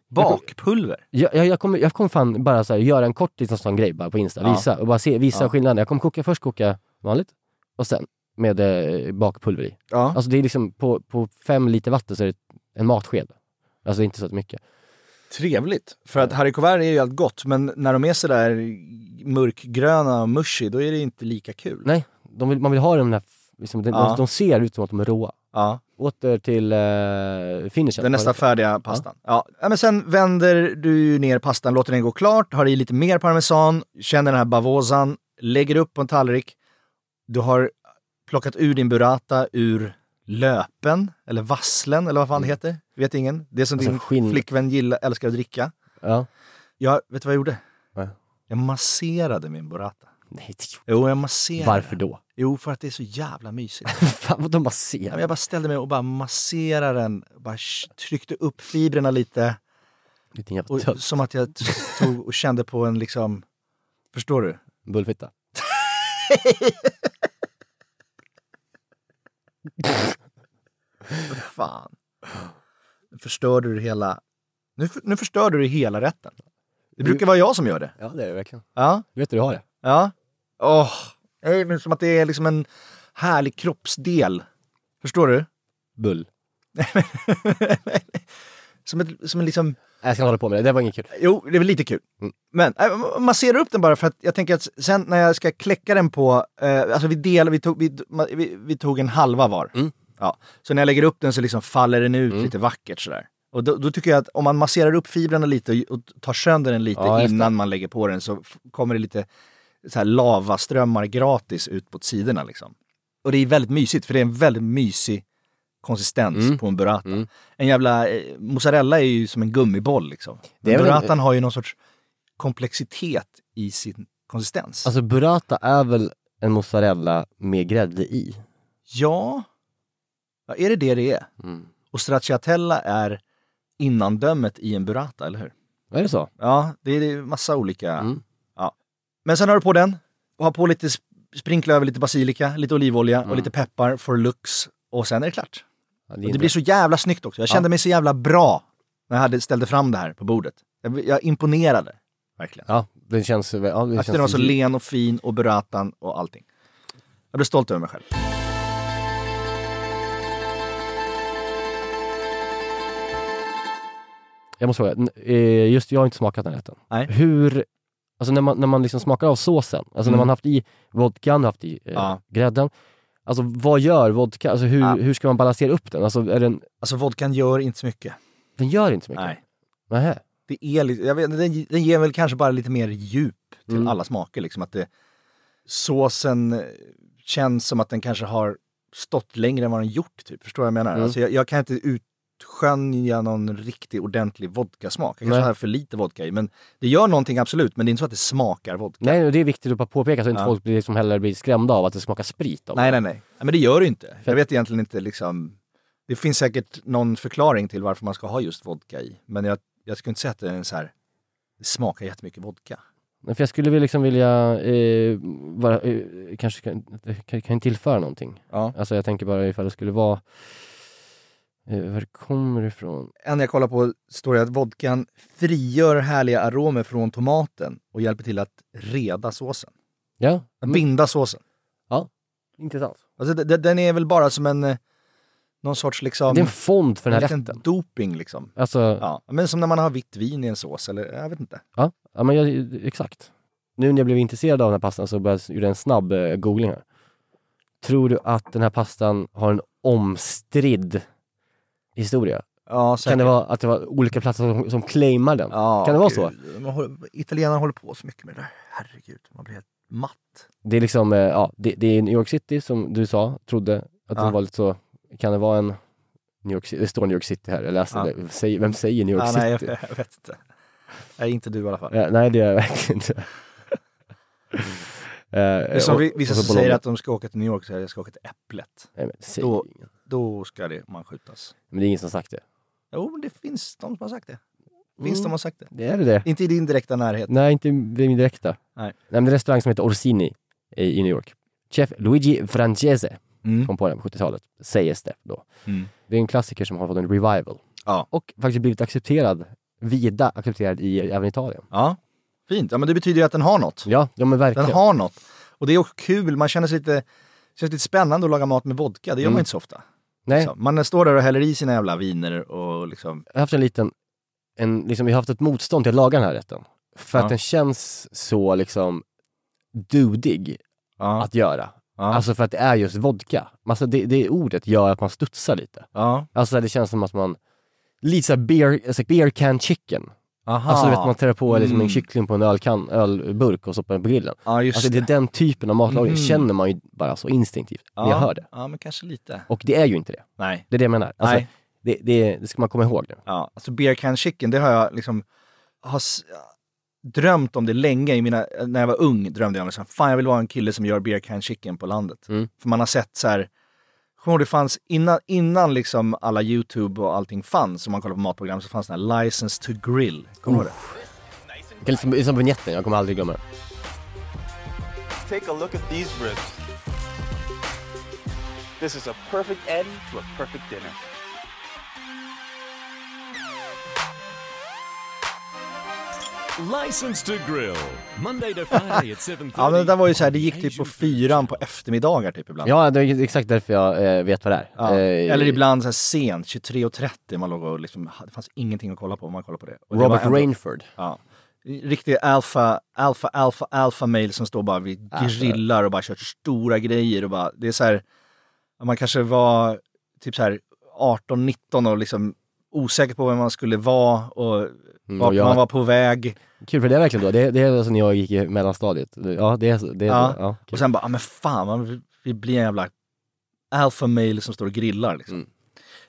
Bakpulver. Jag, jag, jag, kommer, jag kommer fan bara så här, göra en kort liten sån grej bara på Insta, Ja. visa, och bara se, visa Ja. skillnaden. Jag kommer koka, först koka vanligt och sen med eh, bakpulver i. Ja. Alltså det är liksom på, på fem liter vatten så är det en matsked. Alltså inte så mycket. Trevligt. För att haricots verts är ju allt gott, men när de är sådär mörkgröna och mushy, då är det inte lika kul. Nej, de vill, man vill ha den här, f- liksom, de, Ja. de ser ut som att de är råa. Ja. Åter till eh, finishen. Den nästa färdiga pastan. Ja. Ja, men sen vänder du ju ner pastan, låter den gå klart, har i lite mer parmesan, känner den här bavosan, lägger upp på en tallrik. Du har plockat ur din burrata ur löpen, eller vasslen, eller vad fan det heter. Vet ingen. Det som Mm. Alltså, din skinn- flickvän gillar, älskar att dricka. Ja. Jag, vet du vad jag gjorde? Nej. Jag masserade min burrata. Nej, det- Jo, jag masserade. varför den. då? Jo, för att det är så jävla mysigt. Fan vad de bara Ja, ser. men jag bara ställde mig och bara masserade den, bara sh- tryckte upp fibrerna lite. Vilken jävla Och, tönt. som att jag t- tog och kände på en liksom... Förstår du? Bullfitta. Fan. Nu förstörde du hela... Nu, för- nu förstörde du hela rätten. Det brukar vara jag som gör det. Ja, det är det verkligen. Ja. Du vet hur du har det. Ja. Åh. Nej, men som att det är liksom en härlig kroppsdel. Förstår du? Bull. Som, ett, som en liksom... Nej, Jag ska inte hålla på med det, det var inget kul. Jo, det är väl lite kul. Mm. Men äh, massera upp den bara för att jag tänker att sen när jag ska kläcka den på, eh, alltså vi delade, vi tog, vi, ma- vi, vi tog en halva var. Mm. Ja. Så när jag lägger upp den så liksom faller den ut lite vackert sådär. Och då, då tycker jag att om man masserar upp fibrerna lite och, och tar sönder den lite Ja, just det. innan man lägger på den så f- kommer det lite så här lavaströmmar gratis ut på sidorna liksom. Och det är väldigt mysigt för det är en väldigt mysig konsistens Mm. på en burrata. En jävla eh, mozzarella är ju som en gummiboll liksom. är Men väl en- burratan har ju någon sorts komplexitet i sin konsistens. Alltså burrata är väl en mozzarella med grädde i? ja. ja, är det det det är? Mm. Och stracciatella är innandömet i en burrata, eller hur? Är det så? Ja, det är- det är massa olika. Mm. Ja. Men sen har du på den, och har på lite, sp- sprinkla över lite basilika, lite olivolja Mm. och lite peppar for looks. Och sen är det klart. Ja, Och det blir så jävla snyggt också. Jag kände mig så jävla bra när jag hade, ställde fram det här på bordet. Jag, jag imponerade, verkligen. Ja, det känns... Ja, det Att känns den var så len och fin och burratan och allting. Jag blev stolt över mig själv. Jag måste fråga, n- eh, just jag har inte smakat den rätten. Nej. Hur, alltså när man, när man liksom smakar av såsen, alltså Mm. när man haft i vodkan, haft i eh, Ja. grädden. Alltså vad gör vodka, alltså hur, Ja. hur ska man balansera upp den? Alltså är den, Alltså vodkan gör inte så mycket. den gör inte så mycket. Nej. Nähä. Det är lite, jag vet, den, den ger väl kanske bara lite mer djup till Mm. alla smaker. Liksom, att det, såsen eh, känns som att den kanske har stått längre än vad den gjort. Typ. Förstår vad jag menar? Mm. Alltså, jag, jag kan inte utskönja någon riktig ordentlig vodkasmak. Jag kanske Nej. har för lite vodka i. Men det gör någonting absolut, men det är inte så att det smakar vodka. Nej, och det är viktigt att bara påpeka så att inte Ja. folk blir, liksom heller blir skrämda av att det smakar sprit. Av Nej, det. nej, nej. Ja, Men det gör det inte. Jag vet egentligen inte liksom... Det finns säkert någon förklaring till varför man ska ha just vodka i. Men jag, jag skulle inte säga att det är en så här... Det smakar jättemycket vodka. Men För jag skulle väl liksom vilja, eh, vara, eh, kanske kan, kan, kan tillföra någonting. Ja. Alltså jag tänker bara ifall det skulle vara, eh, var det kommer ifrån? En jag kollar på står det att vodkan frigör härliga aromer från tomaten och hjälper till att reda såsen. Ja, Att binda såsen. intressant. Alltså, de- de- den är väl bara som en... eh, Någon sorts liksom... Det är en fond för den här en liten rätten. doping liksom. Alltså, ja. Ja, men som när man har vitt vin i en sås eller jag vet inte. Ja, men jag, exakt. Nu när jag blev intresserad av den här pastan så började jag göra en snabb eh, googling här. Tror du att den här pastan har en omstridd historia? Ja, Kan det vara att det var olika platser som, som claimar den? kan det vara så? italienarna håller på så mycket med det där. Herregud, man blir helt matt. Det är liksom, eh, ja, det, det är New York City som du sa, trodde att Ja. det var lite så. Kan det vara en New York City? Det står New York City här, jag läste Ja. det. Säg, vem säger New York Ja, City? nej, jag, jag vet inte. Nej, inte du i alla fall. Eh, nej, det gör jag verkligen inte. Mm. Eh, Det är som vi, vissa som säger att de ska åka till New York säger jag ska åka till Äpplet. Nej, men, säg, Då- Då ska det, man skjutas. men det är ingen som har sagt det. Jo, men det finns de som har sagt det. Finns Mm. de som har sagt det. Det är det det. Inte i din direkta närhet. Nej, inte vid min direkta. Nej. Nej. men det är en restaurang som heter Orsini i, i New York. Chef Luigi Francese Mm. kom på den på 70-talet, sägs det då. Mm. Det är en klassiker som har fått en revival. Ja. Och faktiskt blivit accepterad, vida accepterad i även Italien. Ja, fint. Ja, men det betyder ju att den har något. Ja, ja men Den verkligen. har något. Och det är också kul, man känner sig lite, känns lite spännande att laga mat med vodka, det gör Mm. man inte så ofta. Nej, Så, man står där och häller i sina jävla viner och liksom, jag har haft en liten, en, liksom, jag har haft ett motstånd till att laga den här rätten. För att Ja. den känns så liksom dudig ja, att göra. ja, Alltså för att det är just vodka. Alltså det, det ordet gör att man studsar lite. ja. Alltså det känns som att man, lite såhär beer, alltså beer can chicken. Aha. Alltså du vet man trär på liksom Mm. en kyckling på en ölkan, ölburk och stoppar den på grillen. ja, just Alltså det är den typen av matlagning Mhm. känner man ju bara så instinktivt när jag hör det. Ja, men kanske lite. Och det är ju inte det. Nej. Det är det jag menar. Alltså, Nej. Det, det, det ska man komma ihåg nu. Ja, alltså beer can chicken, det har jag liksom har s- drömt om det länge. I mina, när jag var ung drömde jag om liksom, fan jag vill vara en kille som gör beer can chicken på landet. Mm. För man har sett så här, kommer du ihåg, det fanns innan, innan liksom alla YouTube och allting fanns, om man kollar på matprogram, så fanns den här License to Grill. Kommer du ihåg det? Det är liksom, det är som vignetten, jag kommer aldrig glömma den. Take a look at these ribs. This is a perfect end to a perfect dinner. License to grill. Monday to Friday at 7.30. Ja, men det där var ju så här, det gick typ på fyran på eftermiddagar typ ibland. Ja, det är exakt därför jag eh, vet vad det är. Ja. Eh, Eller ibland så här sent, 23.30, man låg och liksom, det fanns ingenting att kolla på om man kollade på det. Och det Robert var ändå- Rainford. Ja. Riktig alfa, alfa, alfa, alfa mail som står bara vid Alltså. grillar och bara kört stora grejer och bara, det är så här, man kanske var typ så här 18, 19 och liksom osäker på vem man skulle vara och Mm, vart och jag- man var på väg. Kul, för det är verkligen då. Det, det är alltså när jag gick i mellanstadiet. Ja, det är så. Det är Ja. så. Ja, kul. Och sen bara, ah, men fan, man vill- vill bli en jävla alfa male som står och grillar liksom. Mm.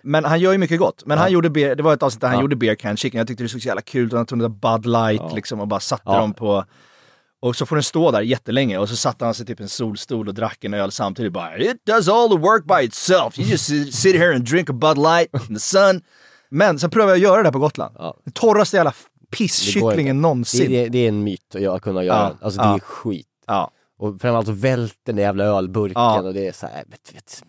Men han gör ju mycket gott. Men Ja. han gjorde beer, det var ett avsnitt där han Ja. gjorde beer can chicken. Jag tyckte det såg så jävla kul ut. Han tog den där Bud Light Ja. liksom och bara satte Ja. dem på... Och så får den stå där jättelänge och så satte han sig typ i en solstol och drack en öl samtidigt bara It does all the work by itself. You just sit- sit here and drink a Bud Light in the sun. Men sen prövade jag att göra det här på Gotland. Ja. Den torraste jävla Det går inte. pisskycklingen någonsin. det, det, det är en myt att jag kunna göra Ja. den. Alltså Ja. det är skit. Ja. Och framförallt så välter den där jävla ölburken Ja. och det är så här, vet, vet,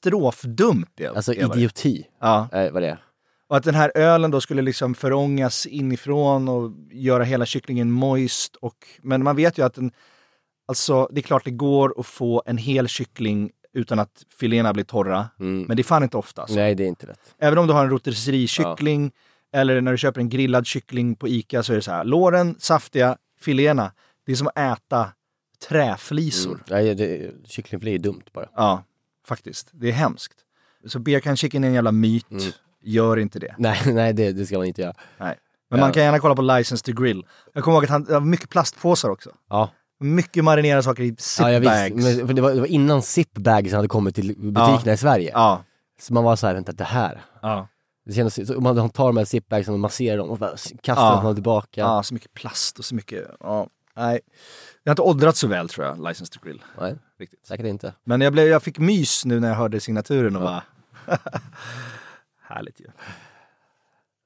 Katastrofdumt det alltså det var det. idioti. Ja. Eh, vad det är. Och att den här ölen då skulle liksom förångas inifrån och göra hela kycklingen moist. Och, men man vet ju att den, alltså det är klart det går att få en hel kyckling utan att filéerna blir torra. Mm. Men det är fan inte ofta. Alltså. Nej, det är inte lätt. Även om du har en rotisserikyckling eller när du köper en grillad kyckling på Ica så är det så här, låren, saftiga, filéerna. Det är som att äta träflisor. Mm. Nej, det, kycklingfilé är dumt bara. Ja, faktiskt. Det är hemskt. Så beer can chicken är en jävla myt. Mm. Gör inte det. Nej, nej det, det ska man inte göra. Nej. Men Ja. man kan gärna kolla på License to Grill. Jag kommer ihåg att han, det var mycket plastpåsar också. Ja, Mycket marinerade saker i ja jag visste. zipbags. Men, för det, var, det var innan zipbagsen hade kommit till butikerna i Sverige. Ja, Så man var så här, vänta det här. ja. Det kändes, så man de tar de här zipbagsen och masserar dem och bara s- kastar Ja. dem tillbaka. ja, så mycket plast och så mycket... Ja. Nej. Det har inte åldrats så väl tror jag, License to Grill. Nej, Riktigt. säkert inte. Men jag, blev, jag fick mys nu när jag hörde signaturen och bara... Härligt ju.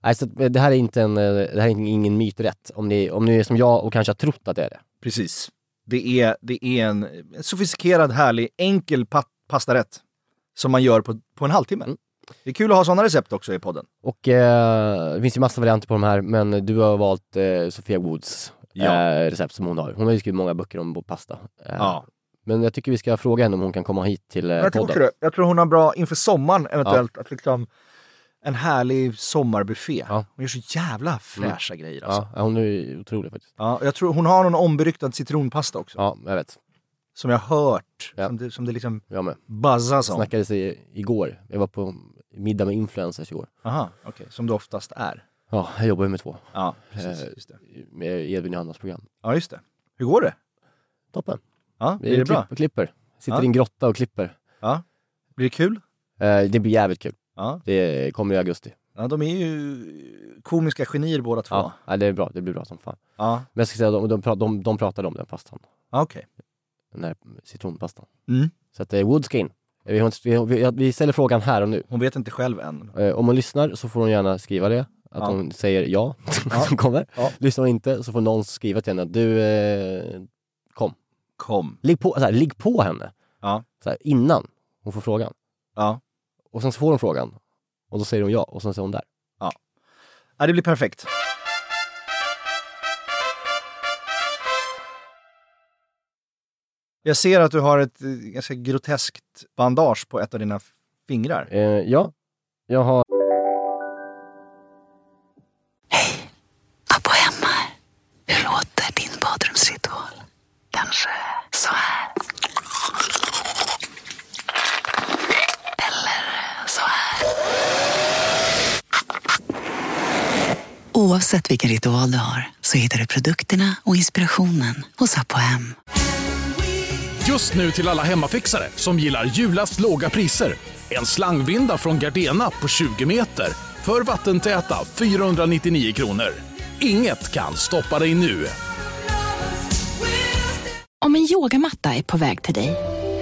Nej, så att, eh, det här är inte en, eh, det här är ingen myträtt. Om ni, om ni är som jag och kanske har trott att det är det. Precis. Det är, det är en en sofistikerad, härlig, enkel pa- pastarätt som man gör på, på en halvtimme. Mm. Det är kul att ha sådana recept också i podden. Och eh, det finns ju massa varianter på de här, men du har valt eh, Sofia Woods eh, Ja. recept som hon har. Hon har ju skrivit många böcker om pasta. Eh, Ja. Men jag tycker vi ska fråga henne om hon kan komma hit till eh, jag tror podden. också det. Jag tror hon har bra inför sommaren eventuellt. Att liksom, en härlig sommarbuffé. Hon gör så jävla fräscha Mm. grejer alltså. Ja, hon är ju otrolig faktiskt. Ja, jag tror hon har någon omberyktad citronpasta också. Ja, jag vet. Som jag har hört. Som, det, som det liksom Jag med. buzzas om. Snackades i, igår. Jag var på middag med influencers igår. Aha, okej. Som det oftast är. Ja, jag jobbar ju med två. Ja, precis, Eh, just det. Med Edvin Johannas program. Ja, just det. Hur går det? Toppen. Ja, Vi typ- blir det bra? Klipper, klipper. Sitter Ja. i en grotta och klipper. Ja. Blir det kul? Eh, det blir jävligt kul. Ja. Det kommer i augusti. Ja, de är ju komiska genier båda två. Ja. ja, det är bra. Det blir bra som fan. Ja. Men jag ska säga, de, de, pra- de, de pratade om den pastan. Ja, okej. Den här citronpastan. Mm. Så att eh, Wood ska in. Eh, Vi, har inte, vi, vi, vi ställer frågan här och nu. Hon vet inte själv än. Eh, om hon lyssnar så får hon gärna skriva det. Att Ja. hon säger ja, som kommer. Ja. Lyssnar hon inte så får någon skriva till henne att du, eh, kom. Kom. Ligg på, så här, ligg på henne. Ja. Så här, innan hon får frågan. Ja. Och sen så får hon frågan. Och då säger hon ja och sen så är hon där. Ja. ja, det blir perfekt. Jag ser att du har ett eh, ganska groteskt bandage på ett av dina fingrar. Eh, ja, jag har... Abbo hemma. Hur låter din badrumsritual? Kanske så här. Eller så här. Oavsett vilken ritual du har så hittar du produkterna och inspirationen hos Abbo Hem. Just nu till alla hemmafixare som gillar julast låga priser. En slangvinda från Gardena på 20 meter för vattentäta 499 kronor. Inget kan stoppa dig nu. Om en yogamatta är på väg till dig,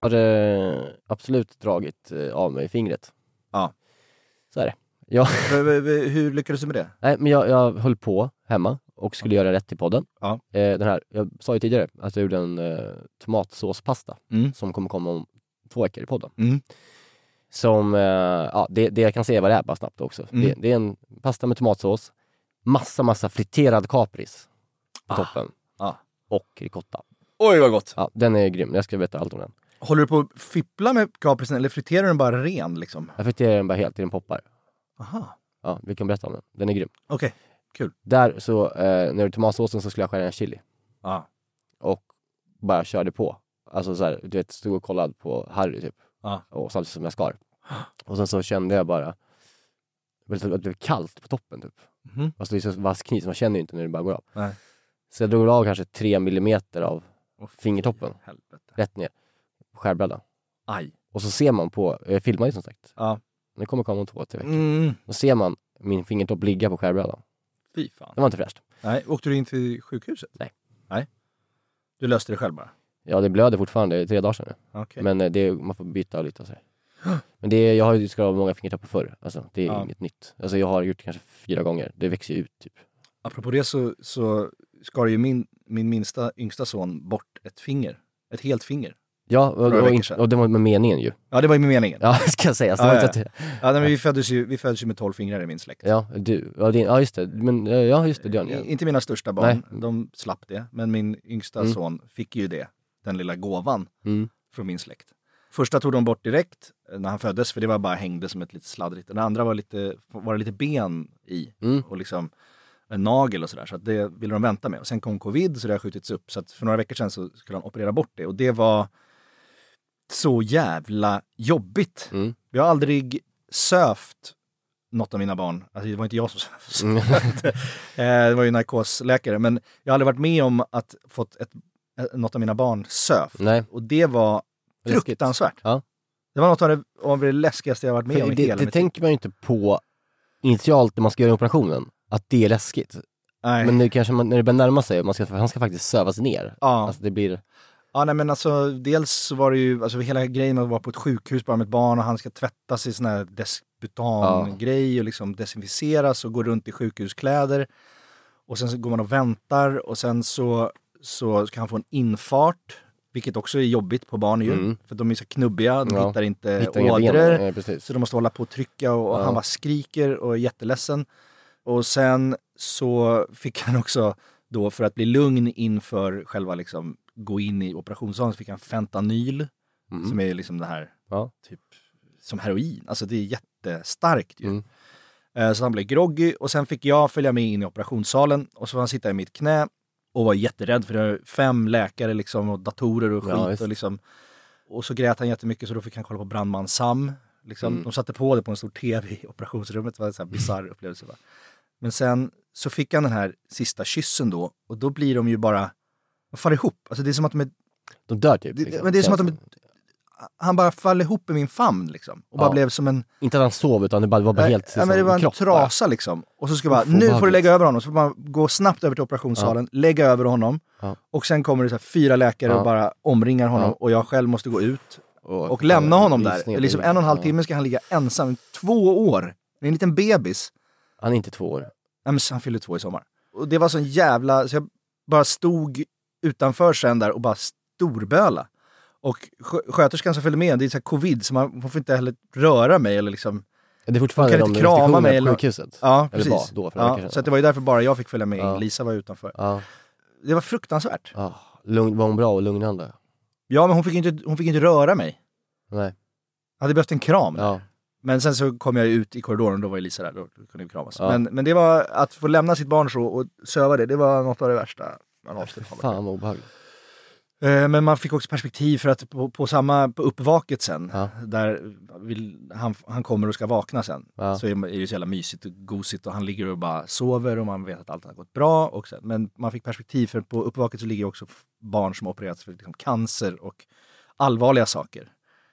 har eh, absolut dragit eh, av mig fingret. Ja. Så är det. Jag, V- v- v- Hur lyckades du med det? nej, men jag, jag höll på hemma och skulle göra rätt i podden. Ja. Eh, den här, jag sa ju tidigare att jag gjorde en eh, tomatsåspasta Mm. som kommer komma om två veckor i podden. Mm. Som, eh, ja, det, det jag kan säga vad det är bara snabbt också. Mm. Det, det är en pasta med tomatsås, massa, massa friterad kapris på toppen Ah. och ricotta. Oj, vad gott! Ja, den är grym. Jag ska veta allt om den. Håller du på att fippla med kaprisen eller friterar du den bara ren? Liksom? Jag friterar den bara helt till den poppar. Aha. Ja, vi kan berätta om den. Den är grym. Okej, kul. Där så, eh, när det är tomatsåsen så skulle jag skära en chili. Ja. Och bara körde på. Alltså så här, du vet, stod och kollade på Harry typ. Ja. Och samtidigt som jag skar. Och sen så kände jag bara, att det blev kallt på toppen typ. Mhm. Alltså det är så vass kniv, så man känner ju inte när det bara går av. Nej. Så jag drog av kanske tre millimeter av fingertoppen. Rätt ner. På skärbrädan. Aj. Och så ser man på, jag filmar ju som sagt. Ja. Det kommer komma om två, tre veckor. Mm. Då ser man min fingertopp ligga på skärbrädan. Fy fan. Det var inte fräscht. Nej, åkte du in till sjukhuset? Nej. Nej. Du löste det själv bara? Ja, det blöder fortfarande. Det är tre dagar sedan nu. Okej. Men eh, det, man får byta lite och så här. Men det, är- jag har ju skadat många fingertoppar förr. Alltså, det är Ja. inget nytt. Alltså, jag har gjort kanske fyra gånger. Det växer ju ut typ. Apropå det så, så skar ju min, min minsta, yngsta son bort ett finger. Ett helt finger. Ja, och, Några och, veckor in- sedan. och det var med meningen ju. Ja, det var ju med meningen. Ja, ska jag säga. Så det ja, var ja, inte ja. att- ja nej, men vi föddes, ju, vi föddes ju med tolv fingrar i min släkt. ja, du. Ja, din, ja, just det. Men, eh, ja, just det. Björn, ja. I- Inte mina största barn, de slapp det. Men min yngsta Mm. son fick ju det, den lilla gåvan Mm. från min släkt. Första tog de bort direkt eh, när han föddes, för det var bara hängde som ett litet sladdrigt. Den andra var, lite, var det lite ben i Mm. och liksom en nagel och sådär. Så att det ville de vänta med. Och sen kom covid, så det har skjutits upp. Så att för några veckor sedan så skulle han operera bort det. Och det var så jävla jobbigt. Mm. Jag har aldrig sövt något av mina barn. Alltså det var inte jag som sövde. Mm. Eh, det var ju narkosläkare. Men jag har aldrig varit med om att fått ett, eh, något av mina barn sövt. Nej. Och det var Läskigt. fruktansvärt. Ja. Det var något av det, av det läskigaste jag har varit med om För i det hela det mitt liv. tänker man ju inte på initialt när man ska göra operationen. Att det är läskigt. Nej. Men nu kanske man, när det börjar närma sig, man ska, han ska faktiskt sövas ner. Ja. Eh, Alltså det blir... Ja, nej, men alltså, dels så var det ju alltså, hela grejen med att vara på ett sjukhus bara med ett barn och han ska tvättas i sån här desputangrej och liksom desinficeras och gå runt i sjukhuskläder. Och sen så går man och väntar och sen så, så ska han få en infart, vilket också är jobbigt på barn ju. Mm. För de är så knubbiga, de Ja. hittar inte Hittar inga ben. Nej, ådror. eh, precis. Så de måste hålla på och trycka och, och Ja. han bara skriker och är jätteledsen. Och sen så fick han också då för att bli lugn inför själva liksom gå in i operationssalen så fick han fentanyl Mm, som är liksom det här typ som heroin. Alltså det är jättestarkt Mm. ju. Eh, Så han blev groggy och sen fick jag följa med in i operationssalen och så var han sitta i mitt knä och var jätterädd för det var fem läkare liksom och datorer och skit. Ja, visst. och, liksom, och så grät han jättemycket så då fick han kolla på Brandman Sam. Liksom. Mm. De satte på det på en stor tv i operationsrummet. Det var en sån här bisarr upplevelse. Va? Men sen så fick han den här sista kyssen då och då blir de ju bara, de faller ihop. Alltså det är som att de är... De dör typ? Det, men det är som att de är, Han bara faller ihop i min famn liksom. Och bara Ja. blev som en... Inte att han sov, utan det bara, var bara Nej, helt ja, men det var en trasa liksom. Och så ska bara, nu får du lägga över honom. Så får man gå snabbt över till operationssalen, lägga över honom. Ja. Och sen kommer det så här fyra läkare Ja. och bara omringar honom Ja. eh, och jag själv måste gå ut och, lämna honom där. visningar. Liksom en och en halv Ja. timme ska han ligga ensam. Två år! Det är en liten bebis. Han är inte två år. Nej, men han fyller två i sommar. Och det var sån jävla... Så jag bara stod utanför sen där och bara storböla. Och skö- sköterskan som följde med, det är så här covid, så man hon får inte heller röra mig eller liksom... Ja, Det är fortfarande Hon kan inte de krama restriktionerna mig på eller- sjukhuset. Ja, eller precis. Var, då, för några ja, veckor sedan. så att det var ju därför bara jag fick följa med in. Ja. Lisa var utanför. ja. Det var fruktansvärt. Ja. Lugn, var hon bra och lugnande? Ja, men hon fick inte, hon fick inte röra mig. Nej. Jag hade behövt en kram. där. Ja. Men sen så kom jag ut i korridoren och då var ju Lisa där. Då kunde vi kramas. Ja. Men, men det var att få lämna sitt barn så och söva det, det var något av det värsta man någonsin har varit med om. Fan vad obehagligt. Eh, Men man fick också perspektiv för att på, på samma, på uppvaket sen, Ja. där vill, han, han kommer och ska vakna sen, Ja. så är det är det så jävla mysigt och gosigt och han ligger och bara sover och man vet att allt har gått bra. Och sen, men man fick perspektiv för på uppvaket så ligger också f- barn som har opererats för liksom cancer och allvarliga saker.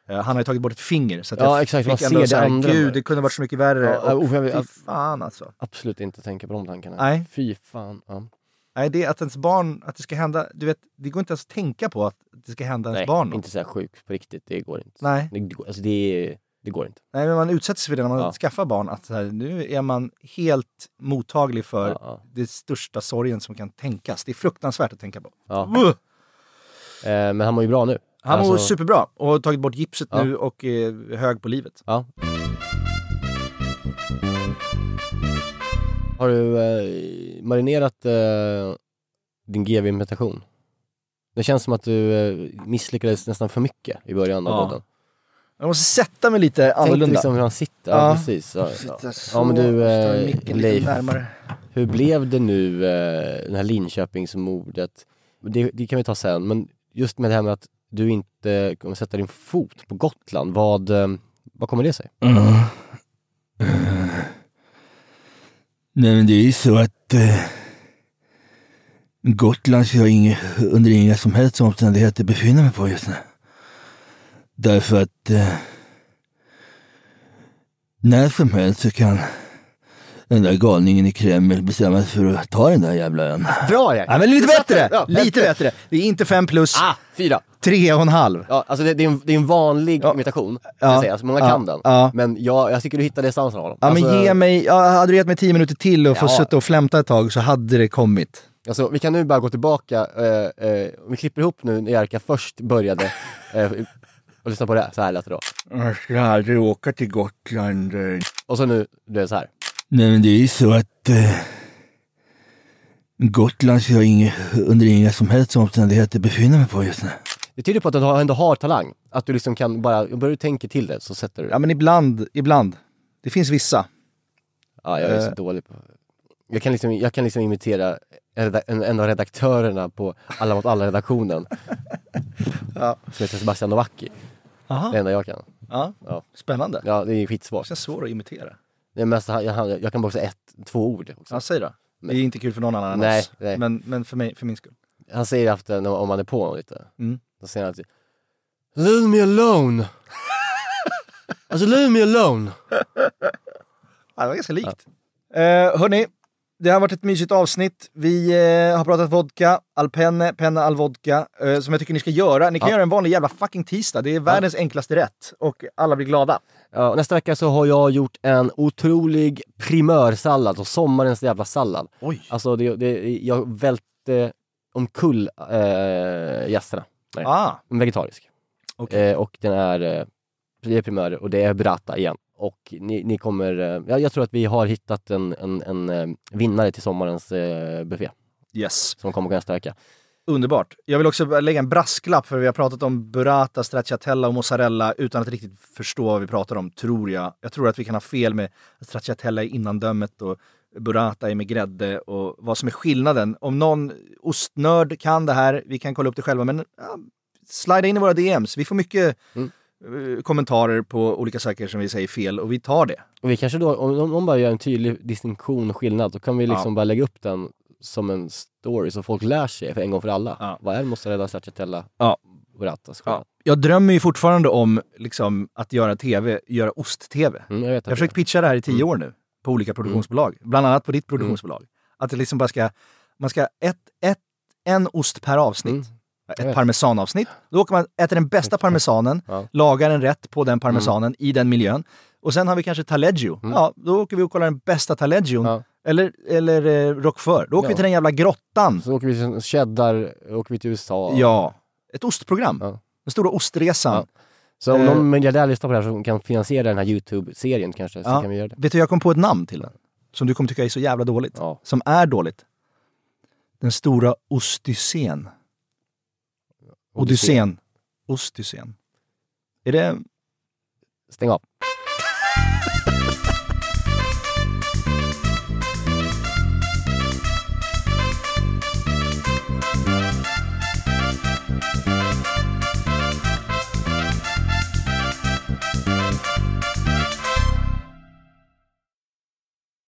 Eh, Han har ju tagit bort ett finger så att Ja, jag exakt, man fick ändå ser så det här, andra gud där." det kunde varit så mycket värre. Ja, och, oh, jag vet- fy fan alltså. Absolut inte tänka på de tankarna. Nej. Fy fan. Ja. Nej, det är att ens barn, att det ska hända, du vet, det går inte ens att tänka på att det ska hända ens Nej, barn. något. inte så här sjuk på riktigt. Det går inte. Nej. Det, det går- alltså det, det går inte. Nej, men man utsätts för det när man Ja. skaffar barn. Att så här, nu är man helt mottaglig för Ja, ja. det största sorgen som kan tänkas. Det är fruktansvärt att tänka på. Ja. Uh! Eh, men han mår ju bra nu. Han mår Alltså- superbra och har tagit bort gipset Ja. nu och är hög på livet. Ja. Har du eh, marinerat eh, din GV-imitation? Det känns som att du eh, misslyckades nästan för mycket i början av Ja, podden. Jag måste sätta mig lite Tänk annorlunda. liksom hur han sitter. Ja, Ja. precis. Ja, Sitta ja. så, ja men du ställa eh, micken lite Leif, närmare. hur blev det nu, eh, det här Linköpingsmordet? Det, det kan vi ta sen, men just med det här med att du inte kommer sätta din fot på Gotland, vad, eh, vad kommer det sig? Eh, Nej men det är ju så att eh, Gotland ska jag inge, under inga som helst omständigheter befinna mig på just nu. Därför att eh, när som helst så kan den där galningen i Kreml bestämma sig för att ta den där jävla ön. Bra Jack! Ja, men lite bättre! Ja, lite bättre. Det är inte fem plus. Ah, fyra! Tre och en halv. Ja, alltså det, det, är en, det är en vanlig imitation, ska Ja. jag säga. Alltså många Ja. kan den. Ja. Men jag, jag tycker du hittade essensen av honom. Ja, alltså, men ge mig, ja, hade du gett mig tio minuter till och få Ja. sitta och flämta ett tag så hade det kommit. alltså, vi kan nu bara gå tillbaka, eh, eh, om vi klipper ihop nu när Jerka först började eh, och lyssna på det här, så här lät det då. Jag ska aldrig åka till Gotland. eh. Och så nu, det är så här. Nej men det är ju så att eh, Gotland ska jag inge, under inga som helst omständigheter befinna mig på just nu. Det tyder på att du har- ändå har talang. Att du liksom kan bara, börjar du tänka till det så sätter du det. Ja, men ibland, ibland. Det finns vissa. Ja, jag är så Eh. dålig på... Jag kan liksom, jag kan liksom imitera en, reda- en, en av redaktörerna på Alla mot alla-redaktionen. Ja. Som heter Sebastian Novacki. Aha. Det enda jag kan. Eh, Ja. Ja, Spännande. ja det är skitsvårt. Det känns svårt att imitera. Det mesta, jag, jag kan bara säga ett, två ord. Också. Ja, säg då. Det är inte kul för någon annan än Nej, oss. nej. Men, men för, mig, för min skull. Han säger efter, när- om man är på honom lite, Mm. då säger han alltid Leave me alone! alltså leave me alone! Ja, det var ganska likt. Eh, hörni, det har varit ett mysigt avsnitt. Vi eh, har pratat vodka, Alpenne, Penna Alvodka, eh, som jag tycker ni ska göra. Ni kan Ja. göra en vanlig jävla fucking tisdag. Det är världens enklaste rätt och alla blir glada. Ja, och nästa vecka så har jag gjort en otrolig primörsallad, och sommarens jävla sallad. Oj. Alltså, det, det, jag välte omkull eh, gästerna. Nej, Ah. en Vegetarisk. Eh, och den är, eh, det är primörer och det är burrata igen. Och ni, ni kommer, eh, jag, jag tror att vi har hittat en, en, en eh, vinnare till sommarens eh, buffé. Yes. Som kommer kunna stärka. Underbart. Jag vill också lägga en brasklapp för vi har pratat om burrata, stracciatella och mozzarella utan att riktigt förstå vad vi pratar om, tror jag. Jag tror att vi kan ha fel med att stracciatella är innandömet och burrata är med grädde och vad som är skillnaden. Om någon ostnörd kan det här, vi kan kolla upp det själva, men ja, slida in i våra DMs. Vi får mycket eh, kommentarer på olika saker som vi säger fel och vi tar det. Och vi kanske då, om om någon bara gör en tydlig distinktion och skillnad, då kan vi liksom Ja. bara lägga upp den som en story så folk lär sig för en gång för alla. Vad är mozzarella, stracciatella, Ja. burrata, Ja. Jag drömmer ju fortfarande om liksom, att göra tv, göra ost-tv. Mm, jag, har försökt pitcha det här i tio Mm. år nu på olika produktionsbolag, bland annat på ditt produktionsbolag. Att det liksom bara ska, man ska ett, ett, en ost per avsnitt. jag Ett vet. parmesanavsnitt. Då åker man, äter den bästa parmesanen, lagar en rätt på Mm. den parmesanen i den miljön. Och sen har vi kanske taleggio. Ja, då åker vi och kollar den bästa Mm. taleggion. Eller, eller eh, roquefort. Då åker vi Ja. till den jävla grottan. Så åker vi till cheddar, åker vi till USA. Ja. Ett ostprogram. Den stora ostresan. Så om Eh, någon miljardär lyssnar på det här som kan finansiera den här YouTube-serien kanske, så Ja. kan vi göra det. Vet du, jag kom på ett namn till den. Som du kommer tycka är så jävla dåligt. Som är dåligt. Den stora Ostysen. Odyssén. Ostysen. Är det... Stäng av.